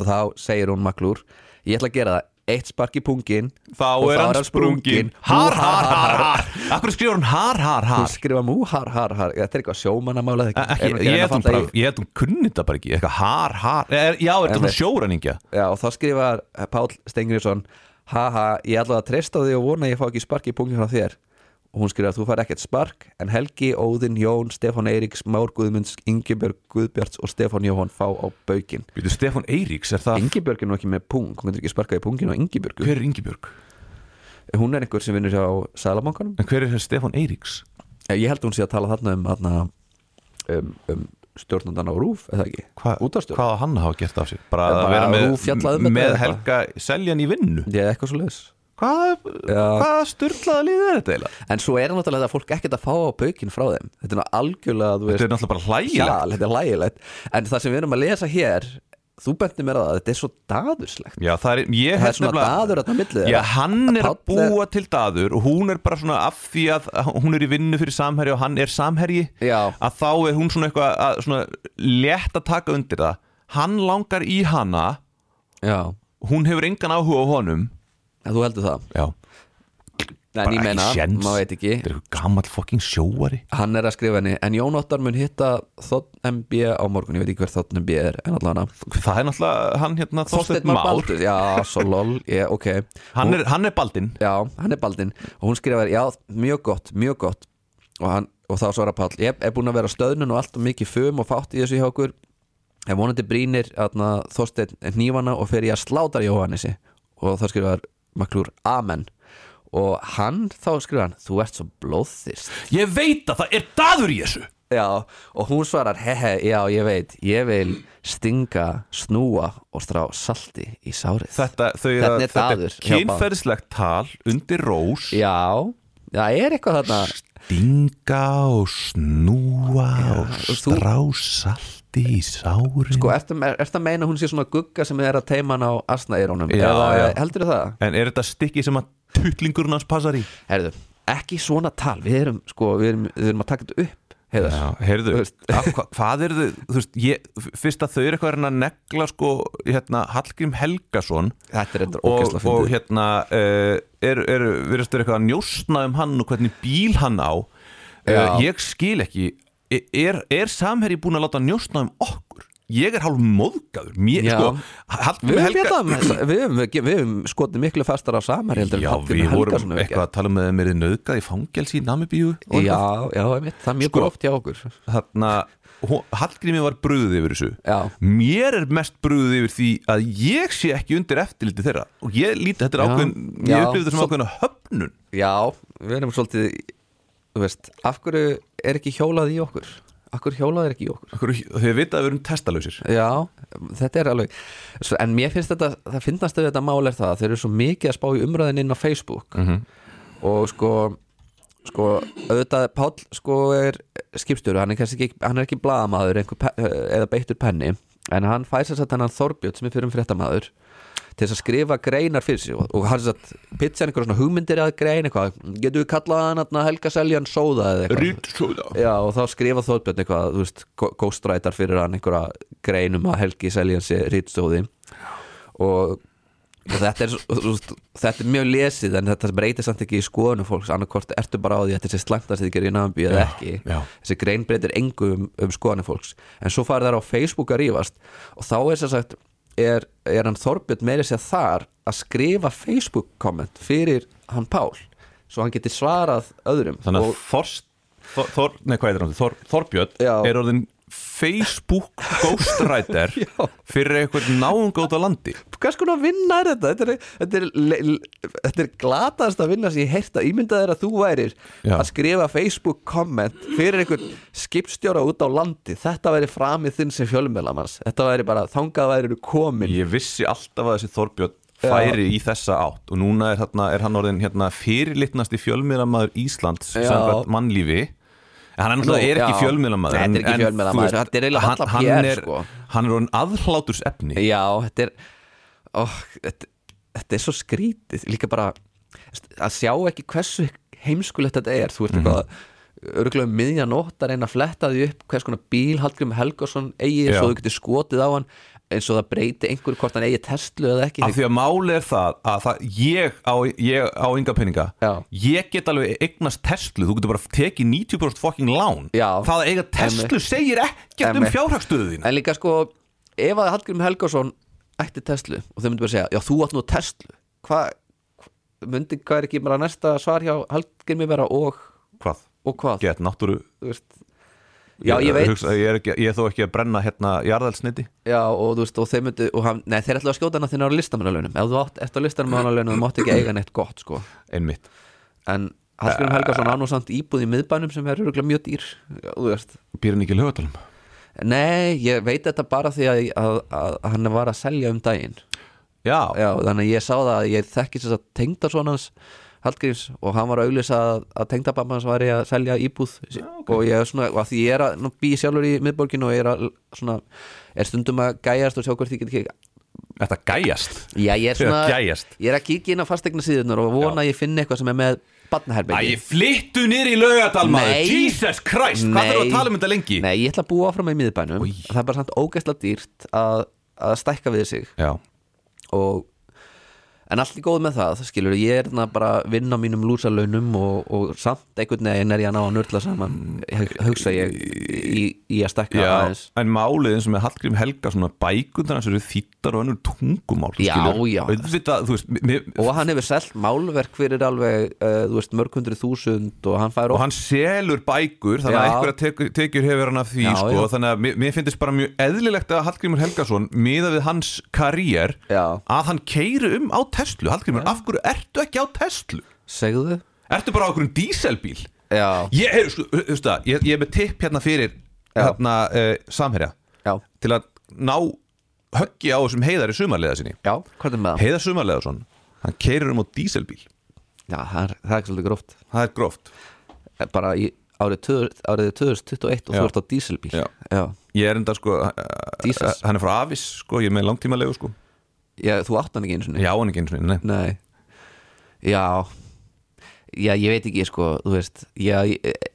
[SPEAKER 5] Og þá segir hún maklúr Ég ætla að gera það Eitt spark í pungin
[SPEAKER 4] Þá
[SPEAKER 5] og
[SPEAKER 4] er hann sprungin Har, har, har, har Akkur skrifur hún har, har,
[SPEAKER 5] Hún
[SPEAKER 4] har
[SPEAKER 5] skrifa mú, har, har, har Þetta er eitthvað sjómannamála
[SPEAKER 4] Eh, ekki, Ég held hún bara, ég held hún kunni þetta bara ekki Eitthvað har, har Eh, er, Já, er
[SPEAKER 5] En
[SPEAKER 4] þetta svona
[SPEAKER 5] við-
[SPEAKER 4] sjóræningja?
[SPEAKER 5] Já, og þá skrifar Páll Stengriðsson Haha, ég ætla að treysta á þig og vona að ég fá ekki spark í punktinn frá þér og hún skrifar, þú fær ekkert spark en Helgi, Óðinn, Jón, Stefán Eiríks Már Guðmunds, Ingebjörg Guðbjörts og Stefán Jóhann fá á baukinn
[SPEAKER 4] Býtu, Stefán Eiríks, er það
[SPEAKER 5] Ingebjörg er nú ekki með pung, hún getur ekki sparkað í pungin á Ingebjörgu
[SPEAKER 4] Hver er Ingibjörg?
[SPEAKER 5] hún er einhver sem vinnur hjá Sælamankanum
[SPEAKER 4] En hver er þessi Stefán Eiríks?
[SPEAKER 5] ég held hún sé að tala þarna um, þarna, um, um stjórnandan á Rúf eða ekki,
[SPEAKER 4] Hva,
[SPEAKER 5] útastjórn
[SPEAKER 4] Hvað á hann að hafa gert af sér? Bara
[SPEAKER 5] Bara
[SPEAKER 4] að vera
[SPEAKER 5] Rúf fjallaði
[SPEAKER 4] með,
[SPEAKER 5] um þetta
[SPEAKER 4] með
[SPEAKER 5] eða
[SPEAKER 4] Helga Seljan í vinnu
[SPEAKER 5] ég eitthvað svo leiðis
[SPEAKER 4] Hvað,
[SPEAKER 5] Já.
[SPEAKER 4] hvað styrlaða líður þetta eiginlega?
[SPEAKER 5] en svo er náttúrulega þetta að fólk ekkert að fá á baukinn frá þeim þetta er nú algjörlega, þú veist
[SPEAKER 4] Þetta er náttúrulega bara hlægilegt
[SPEAKER 5] Já, þetta er lægilegt En það sem við erum að lesa hér Þú benti mér á það, þetta er svo daðurslegt
[SPEAKER 4] Já, það er, ég
[SPEAKER 5] Það
[SPEAKER 4] held
[SPEAKER 5] er svona
[SPEAKER 4] nefnilega-
[SPEAKER 5] daður þarna á milli
[SPEAKER 4] Já,
[SPEAKER 5] þeirra.
[SPEAKER 4] hann er að
[SPEAKER 5] Páll er-
[SPEAKER 4] búa til daður og hún er bara svona af því að hún er í vinnu fyrir samherji og hann er samherji
[SPEAKER 5] Já.
[SPEAKER 4] að þá er hún svona eitthvað að, svona létt að taka undir það hann langar í hana
[SPEAKER 5] Já
[SPEAKER 4] hún hefur engan áhuga á honum
[SPEAKER 5] Þú heldur það
[SPEAKER 4] Já,
[SPEAKER 5] Nei,
[SPEAKER 4] bara
[SPEAKER 5] en ég
[SPEAKER 4] ekki
[SPEAKER 5] meina,
[SPEAKER 4] séns.
[SPEAKER 5] maður veit ekki
[SPEAKER 4] Þetta er eitthvað gamall fucking sjóari
[SPEAKER 5] Hann er að skrifa henni En Jón Óttar mun hitta Þótt MB á morgun Ég veit ekki hver Þótt MB er En allan að
[SPEAKER 4] Það er náttúrulega hann hérna Þorsteinn
[SPEAKER 5] Már
[SPEAKER 4] Már
[SPEAKER 5] Baldur Já, svo lol Ég, ok
[SPEAKER 4] hann
[SPEAKER 5] Hún-
[SPEAKER 4] er, hann er baldinn
[SPEAKER 5] Já, hann er Baldin Og hún skrifar Já, mjög gott, mjög gott Og, hann, og þá svarar Páll Ég er búin að vera á stöðnun og allt og mikið fum og fátt í þessu hjá okkur En vonandi brýnir atna, Þorsteinn hnífana og fer ég að slátar Jóhannessi og þá skrifar Maklúr Amen og hann þá skrifar hann Þú ert svo blóðþist
[SPEAKER 4] Ég veit að það er daður í þessu
[SPEAKER 5] Já, og hún svarar Hehe, já, ég veit, ég vil stinga, snúa og strá salti í sárið
[SPEAKER 4] Þetta, þau, eru að-
[SPEAKER 5] Þetta er
[SPEAKER 4] þetta
[SPEAKER 5] daður
[SPEAKER 4] er
[SPEAKER 5] hjá Bárð.
[SPEAKER 4] kynferðislegt tal undir rós
[SPEAKER 5] Já, það er eitthvað þarna
[SPEAKER 4] Dinga og snúa og
[SPEAKER 5] þú-
[SPEAKER 4] strá salti í sárin
[SPEAKER 5] Sko, ertu, er, ertu að meina að hún sé svona gugga sem er að teima hann á asnaeirónum?
[SPEAKER 4] Já,
[SPEAKER 5] Eða
[SPEAKER 4] já.
[SPEAKER 5] heldur það?
[SPEAKER 4] En er þetta stikki sem að
[SPEAKER 1] tuttlingurinn hans passar í
[SPEAKER 5] Herðu, ekki svona tal Við erum, sko, við erum, við erum að taka þetta upp Heiðar
[SPEAKER 4] Já, heyrðu,
[SPEAKER 5] Þú veist.
[SPEAKER 4] af, hva, hvað er þau þú veist, ég, f- fyrst að þau eru eitthvað að reyna að negla sko, hérna, Hallgrím Helgason
[SPEAKER 5] Þetta er þetta
[SPEAKER 4] og,
[SPEAKER 5] ógæsla
[SPEAKER 4] og
[SPEAKER 5] fyndið
[SPEAKER 4] hérna uh, er, er, virðist verið eitthvað að njósna um hann og hvernig bíl hann á uh,
[SPEAKER 5] Já.
[SPEAKER 4] ég skil ekki E- er, er samherji búin að láta njósna um okkur ég er hálf móðgæður mér,
[SPEAKER 5] Já.
[SPEAKER 4] sko, Hallgrím
[SPEAKER 5] Við höfum
[SPEAKER 4] Helga
[SPEAKER 5] bjallað um þessa- Við höfum- við höfum skotið miklu fastar á samar heldur en
[SPEAKER 4] já,
[SPEAKER 5] Hallgrímur
[SPEAKER 4] við vorum
[SPEAKER 5] Helgason hefur
[SPEAKER 4] eitthvað
[SPEAKER 5] gert.
[SPEAKER 4] að tala um að þeim erið nöðgað í fangelsi í Namibíu og eitthvað.
[SPEAKER 5] Já, já, einmitt, það er mjög
[SPEAKER 4] Sko.
[SPEAKER 5] gróft hjá okkur
[SPEAKER 4] þarna hó- Hallgrími var brúðið yfir þessu
[SPEAKER 5] Já.
[SPEAKER 4] mér er mest brúðið yfir því að ég sé ekki undir eftirliti þeirra og ég líti, þetta er
[SPEAKER 5] Já.
[SPEAKER 4] ákveðin
[SPEAKER 5] Já.
[SPEAKER 4] ég upplifði þetta sem
[SPEAKER 5] Svo-
[SPEAKER 4] ákveðin höfnun
[SPEAKER 5] Já, við erum svolítið Þú veist, af hverju er ekki hjólað í okkur? Af hverju hjólað er ekki í okkur?
[SPEAKER 4] Af hverju- þau vita að við erum testalausir
[SPEAKER 5] Já, þetta er alveg svo, En mér finnst þetta, það finnast við þetta mál er það að Þeir eru svo mikið að spá í umræðin inn á Facebook Og sko Sko, auðvitað Páll sko er skipstjóru, hann er kannski ekki, hann er ekki blaðamaður einhver, pe- eða beittur penni en hann fæsir satt hann Þorbjörn sem er fyrir um fréttamaður til þess að skrifa greinar fyrir sig og, og hann satt pitsa einhver svona hugmyndir að grein eitthvað, getur við kallað hann þarna Helga Seljan sóða eða eitthvað
[SPEAKER 4] Rýtsóða
[SPEAKER 5] Já, og þá skrifa Þorbjörn eitthvað, þú veist, ghostwriter fyrir hann einhverja grein um að Helgi Seljan sé rýtstóði og og þetta er, svo- þú veist, þetta er mjög lesið en þetta breytir samt ekki í skoðunum fólks annarkort ertu bara á því að þetta sé slæmt að þetta gerir í náðanbí eða ekki,
[SPEAKER 4] já.
[SPEAKER 5] þessi grein breytir engu um, um skoðunum fólks, en svo farið þær á Facebook að rífast og þá er sem sagt er, er hann Þorbjörn meiri sér þar að skrifa Facebook komment fyrir hann Pál svo hann geti svarað öðrum
[SPEAKER 4] þannig að
[SPEAKER 5] og,
[SPEAKER 4] Þorst Þor, Þor, nei, hvað heitir hann? Þor, Þorbjörn
[SPEAKER 5] Já.
[SPEAKER 4] er orðin Facebook ghostwriter fyrir einhvern náunga út á landi
[SPEAKER 5] hvers konar vinna er þetta? Þetta er, þetta er, le- le- þetta er glatast að vinna sem ég heyrta, ímyndað er að þú værir
[SPEAKER 4] Já.
[SPEAKER 5] að skrifa Facebook komment fyrir einhvern skipstjóra út á landi þetta væri framið þinn sem fjölmjölamanns þetta væri bara þangað væri komin
[SPEAKER 4] ég vissi alltaf að þessi Þorbjörn færi í þessa átt og núna er, þarna, er hann orðin hérna, fyrirlitnasti fjölmiðlamæður Íslands
[SPEAKER 5] Já.
[SPEAKER 4] samkvæmt mannlífi en hann er náttúrulega
[SPEAKER 5] Nú,
[SPEAKER 4] er ekki
[SPEAKER 5] já.
[SPEAKER 4] fjölmiðlamæður
[SPEAKER 5] Nei, þetta er ekki
[SPEAKER 4] en- en,
[SPEAKER 5] fjölmiðlamaður,
[SPEAKER 4] þú veist,
[SPEAKER 5] þetta er eiginlega
[SPEAKER 4] hann-
[SPEAKER 5] varla
[SPEAKER 4] hann
[SPEAKER 5] PR,
[SPEAKER 4] er-
[SPEAKER 5] sko.
[SPEAKER 4] hann er orðin aðhláturs efni
[SPEAKER 5] já, þetta er ó, þetta, þetta er svo skrítið líka bara að sjá ekki hversu heimskulegt þetta er
[SPEAKER 4] Mhm.
[SPEAKER 5] þú ert eitthvað mm örgulega um miðja nótt að reyna að fletta því upp hvers konar bíl Hallgrim Helgason eigi
[SPEAKER 4] Já.
[SPEAKER 5] svo þú getur skotið á hann eins og það breyti einhverju hvort hann eigi Tesla eða ekki
[SPEAKER 4] af því að máli er það að það, ég, á, ég á ynga peninga
[SPEAKER 5] Já.
[SPEAKER 4] ég get alveg eignast Tesla þú getur bara tekið 90% fucking lán
[SPEAKER 5] Já.
[SPEAKER 4] það að eiga Tesla
[SPEAKER 5] Einmitt.
[SPEAKER 4] segir ekkert um
[SPEAKER 5] Einmitt.
[SPEAKER 4] fjárhagstöðu þín
[SPEAKER 5] En líka sko, ef að Hallgrim Helgason ætti Tesla og þau myndu bara segja, já þú átt nú Tesla hvað, myndi, hvað er ekki bara næsta svar hjá Hallgrimi vera og
[SPEAKER 4] hvað?
[SPEAKER 5] og hvað,
[SPEAKER 4] get náttúru
[SPEAKER 5] þú veist Já, ég veit,
[SPEAKER 4] hugsa, ég, er ekki, ég er þó ekki að brenna hérna jarðalsniti
[SPEAKER 5] já, og þú veist, og þeir myndu og hann, nei, þeir ætlaðu að skjóta hana þegar á listamannalaunum ef þú átt eftir á listamannalaunum, þú mátt ekki eiga neitt gott, sko,
[SPEAKER 4] einmitt
[SPEAKER 5] en Hallgrim Helgason án og samt íbúð í miðbænum sem er örugglega mjög dýr, já, þú veist
[SPEAKER 4] býr hann ekki í lögadalum
[SPEAKER 5] Nei, ég veit þetta bara því að, að, að, að hann var að selja um daginn
[SPEAKER 4] Já,
[SPEAKER 5] Já, þannig að ég sá það að ég þekki þess að tengdason hans Hallgríms og hann var að auglýsa að, að tengdababba hans væri að selja íbúð og ég er svona, og að því ég er að nú, býi sjálfur í miðborginu og ég er að svona, er stundum að gæjast og sjá hvort ég get ekki
[SPEAKER 4] þetta gæjast
[SPEAKER 5] Já, ég er svona,
[SPEAKER 4] Að gægjast.
[SPEAKER 5] ég er að kíkja inn á fastegna síðunar og vona að ég finni eitthvað sem er með barnaherbergi
[SPEAKER 4] flyttu niður í laugadal
[SPEAKER 5] Nei.
[SPEAKER 4] Christ,
[SPEAKER 5] Nei.
[SPEAKER 4] þarftu um lengi?
[SPEAKER 5] Nei, ég ætla að búa áfram í miðbænum það er bara samt ógæsla dýrt að, að stækka við sig
[SPEAKER 4] Já,
[SPEAKER 5] og en allt er góð með það, það skilur ég er þarna bara að vinna á mínum lúsalaunum og, og samt einhvern veginn er ég að ná að nörla saman hu- hugsa ég í, í að stekka
[SPEAKER 4] já
[SPEAKER 5] aðeins
[SPEAKER 4] en málið eins og með Hallgrím Helga svona bækundan hans eru þýttar og önnur tungumál
[SPEAKER 5] Já,
[SPEAKER 4] skilur.
[SPEAKER 5] já.
[SPEAKER 4] Auðvitað, þú veist, mér,
[SPEAKER 5] og hann hefur selt málverk fyrir alveg uh, þú veist mörg hundru þúsund og hann fær
[SPEAKER 4] og
[SPEAKER 5] oft
[SPEAKER 4] hann selur bækur þannig að
[SPEAKER 5] Já.
[SPEAKER 4] einhverja tekur, tekjur hefur hann af því
[SPEAKER 5] Já,
[SPEAKER 4] sko,
[SPEAKER 5] já.
[SPEAKER 4] þannig að mér, mér finnst bara mjög eðlilegt að Hallgrímur Helgason miða við hans karýr
[SPEAKER 5] Já.
[SPEAKER 4] að hann keiri um á Tesla Hallgrímur, af hverju ertu ekki á Tesla?
[SPEAKER 5] segðu
[SPEAKER 4] Ertu bara á okkur um díselbíl?
[SPEAKER 5] já,
[SPEAKER 4] Ég, hey, sko, þú veist það, ég, ég er með tipp hérna fyrir
[SPEAKER 5] Já.
[SPEAKER 4] hérna, uh, samherja
[SPEAKER 5] já,
[SPEAKER 4] til að ná höggi á þessum heiðar í sumarleða sinni
[SPEAKER 5] já, hvað er með það?
[SPEAKER 4] Heiðar sumarleðason, hann keirir um á díselbíl
[SPEAKER 5] já, það er, það er ekki svolítið gróft Eh,
[SPEAKER 4] það er gróft
[SPEAKER 5] bara í árið, tvö- árið 2021 og
[SPEAKER 4] Já.
[SPEAKER 5] þú ert á dísilbíl
[SPEAKER 4] Já.
[SPEAKER 5] Já.
[SPEAKER 4] ég er enda sko, uh,
[SPEAKER 5] Dísels.
[SPEAKER 4] hann er frá Avis sko, ég er með langtímalegu sko
[SPEAKER 5] Já, þú átt hann ekki eins og
[SPEAKER 4] Já, hann ekki einu sinni, nei
[SPEAKER 5] Nei Já Já, ég veit ekki, sko, þú veist Já, ég, eh,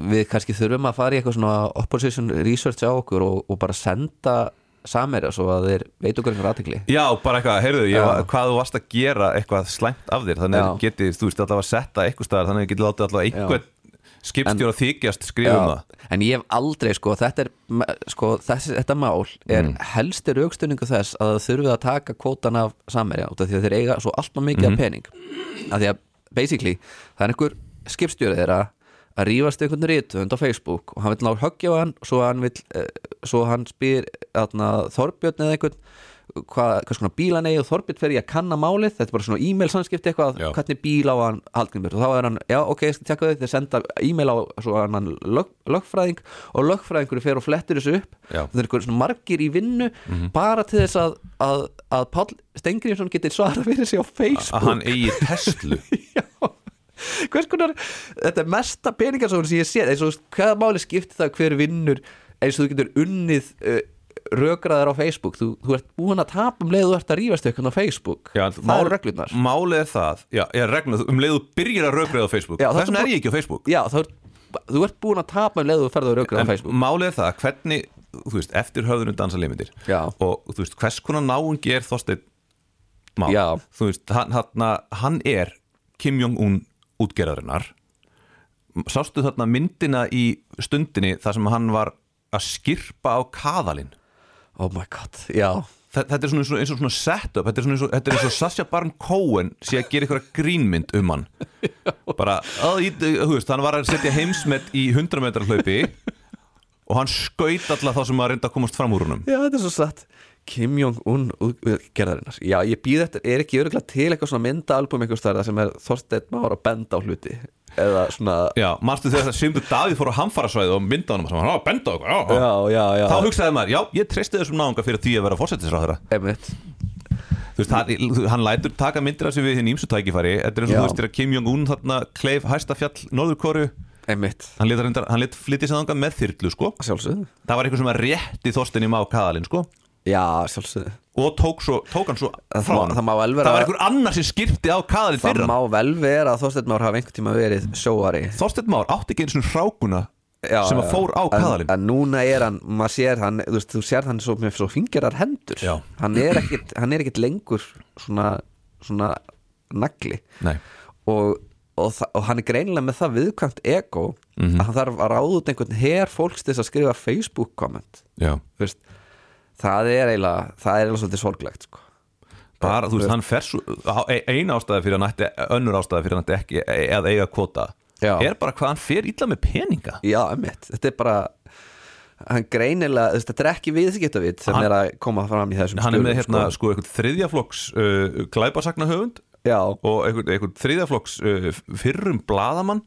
[SPEAKER 5] við kannski þurfum að fara í eitthvað svona opposition research á okkur og, og bara senda samera svo að þeir veit okkur einhver aðtekli
[SPEAKER 4] Já, bara eitthvað, heyrðu, ég,
[SPEAKER 5] Já.
[SPEAKER 4] hvað þú varst að gera eitthvað slæmt af þér, þannig að
[SPEAKER 5] Já.
[SPEAKER 4] getið, þú veist, allavega að setja eitthvað staðar, þannig að getið látið allavega einhvern skipstjóra þykjast skrifa um það
[SPEAKER 5] En ég hef aldrei, sko, þetta er sko, þessi, þetta mál er
[SPEAKER 4] Mm.
[SPEAKER 5] helsti raukstunningu þess að það þurfið að taka kvótan af samverja út af því að þeir eiga svo alltaf mikið
[SPEAKER 4] Mhm.
[SPEAKER 5] af pening af því að, basically, það er einhver skipstjórið þeirra að rífast við einhvern rítuhund á Facebook og hann vil ná höggja á hann svo hann, vill, eh, svo hann spyr atna, Þorbjörn eða einhvern hvað, hvað svona bílan eigi og Þorbjörn fer í að kanna málið, þetta er bara svona e-mail samskipti eitthvað,
[SPEAKER 4] Já.
[SPEAKER 5] hvernig bíl á hann Hallgrímur og þá er hann, já ok, ég skal tjekka þau þeir senda e-mail á svo hann lög, lögfræðing og lögfræðingur fer og flettir þessu upp,
[SPEAKER 4] Já. Mhm.
[SPEAKER 5] það er einhver svona margir í vinnu bara til þess að að, að Páll Stengriðsson getur svarað fyrir sig á
[SPEAKER 4] að hann
[SPEAKER 5] Facebook
[SPEAKER 4] eigi Tesla
[SPEAKER 5] Já. hvers konar þetta er mesta peningarsókn sem ég sé eins og þú veist, hvaða máli skipti það hver vinnur eins og þú getur unnið uh, rökraðar á Facebook, þú, þú ert búin að tapa um leið og þú ert að rífast ykkur á Facebook
[SPEAKER 4] Já,
[SPEAKER 5] það
[SPEAKER 4] mál-
[SPEAKER 5] eru reglurnar
[SPEAKER 4] Málið er það, já, já reglurnar, um leiðu byrjir að rökriða á Facebook,
[SPEAKER 5] Já, þetta
[SPEAKER 4] þess vegna
[SPEAKER 5] er
[SPEAKER 4] er ég ekki á Facebook
[SPEAKER 5] Já, þá er, þú ert búin að tapa um leið og þú ferðu að rökraða
[SPEAKER 4] En Mm.
[SPEAKER 5] á Facebook
[SPEAKER 4] málið er það, hvernig, þú veist, eftir höfðunum dansa limitir
[SPEAKER 5] Já.
[SPEAKER 4] og þú veist, hvers konar náungi er Þorsteinn Má,
[SPEAKER 5] Já.
[SPEAKER 4] þú veist, hann, hann, hann er Kim Jong-un útgerðarinnar sástu þarna myndina í stundinni þar sem hann var að skirpa á kaðalinn
[SPEAKER 5] Oh my god, já
[SPEAKER 4] Þa- Þetta er svona eins og, eins og svona setup Þetta er svona eins og, þetta er eins og Sasha Baron Cohen sé að gera einhverja grínmynd um hann bara, að, í- þú veist, hann var að setja heimsmet í 100 metrar hlaupi og hann skaut alla þá sem að reynda að komast fram úr húnum
[SPEAKER 5] Já, þetta er svo satt Kim Jong-un gerðarinnar Já, ég býð þetta, er ekki öruglega til eitthvað svona myndaalbum einhvers þar sem er Þorsteinn Már að benda á hluti eða svona
[SPEAKER 4] Já, manstu þegar það Simbu Davíð fór á hamfarasvæði og mynda honum, hann var að benda okkur já, já.
[SPEAKER 5] Já, já, já
[SPEAKER 4] Þá hugsaði maður, já, ég treysti þessum náunga fyrir því að vera fórsetisráðara
[SPEAKER 5] Einmitt.
[SPEAKER 4] Þú veist, hann, hann lætur taka myndir af sér við hinn ímsu tækifæri Þetta er eins og
[SPEAKER 5] Já.
[SPEAKER 4] þú veist, þegar Kim Jong-un þarna kleif hæstafjall Norðurkóru
[SPEAKER 5] Einmitt
[SPEAKER 4] Hann lit, reyndar- hann lit flytja sér þangað með þyrlu, sko
[SPEAKER 5] Sjálfsögðu
[SPEAKER 4] það var eitthvað sem að rétti Þorstinni má kaðalinn sko
[SPEAKER 5] Já, sjálfsögðu
[SPEAKER 4] og tók, svo, tók hann svo
[SPEAKER 5] Það
[SPEAKER 4] frá
[SPEAKER 5] má-
[SPEAKER 4] hann
[SPEAKER 5] það má vel vera-
[SPEAKER 4] var eitthvað annar sem skipti á kaðalinn
[SPEAKER 5] Það
[SPEAKER 4] fyrir
[SPEAKER 5] má
[SPEAKER 4] hann
[SPEAKER 5] vel vera að Þorsteinn Már hafa einhvern tíma verið sjóari
[SPEAKER 4] Þorsteinn Már átti ekki einu svona hrákuna
[SPEAKER 5] já,
[SPEAKER 4] sem
[SPEAKER 5] já.
[SPEAKER 4] að fór á kaðalinn
[SPEAKER 5] en, en núna er hann, maður sér hann þú, veist, þú sér hann svo, með svo fingrar hendur
[SPEAKER 4] Já.
[SPEAKER 5] hann er, ekkit, hann er ekkit lengur svona, svona nagli
[SPEAKER 4] Nei.
[SPEAKER 5] og, og, þa- og hann er greinilega með það viðkvæmt ego
[SPEAKER 4] Mhm.
[SPEAKER 5] að hann þarf að ráða út einhvern her fólks til þess að skrifa Facebook comment
[SPEAKER 4] Já.
[SPEAKER 5] Þú veist, það er eiginlega það er eiginlega svolítið sorglegt sko.
[SPEAKER 4] bara, þú veist, hann fer svo á- e- eina ástæði fyrir hann ætti, önnur ástæði fyrir hann ætti ekki e- að eiga kvota
[SPEAKER 5] Já.
[SPEAKER 4] er bara hvað hann fer illa með peninga
[SPEAKER 5] já, emitt, þetta er bara hann greinilega, þú veist, þetta er ekki viðskiptavit sem
[SPEAKER 4] Hann-
[SPEAKER 5] er að koma fram í þessum
[SPEAKER 4] hann er með
[SPEAKER 5] skjölum,
[SPEAKER 4] hérna,
[SPEAKER 5] sko.
[SPEAKER 4] sko, eitthvað þriðjaflokks uh, glæpasakna höfund
[SPEAKER 5] Já.
[SPEAKER 4] og eitthvað, eitthvað þriðaflokks uh, fyrrum bladamann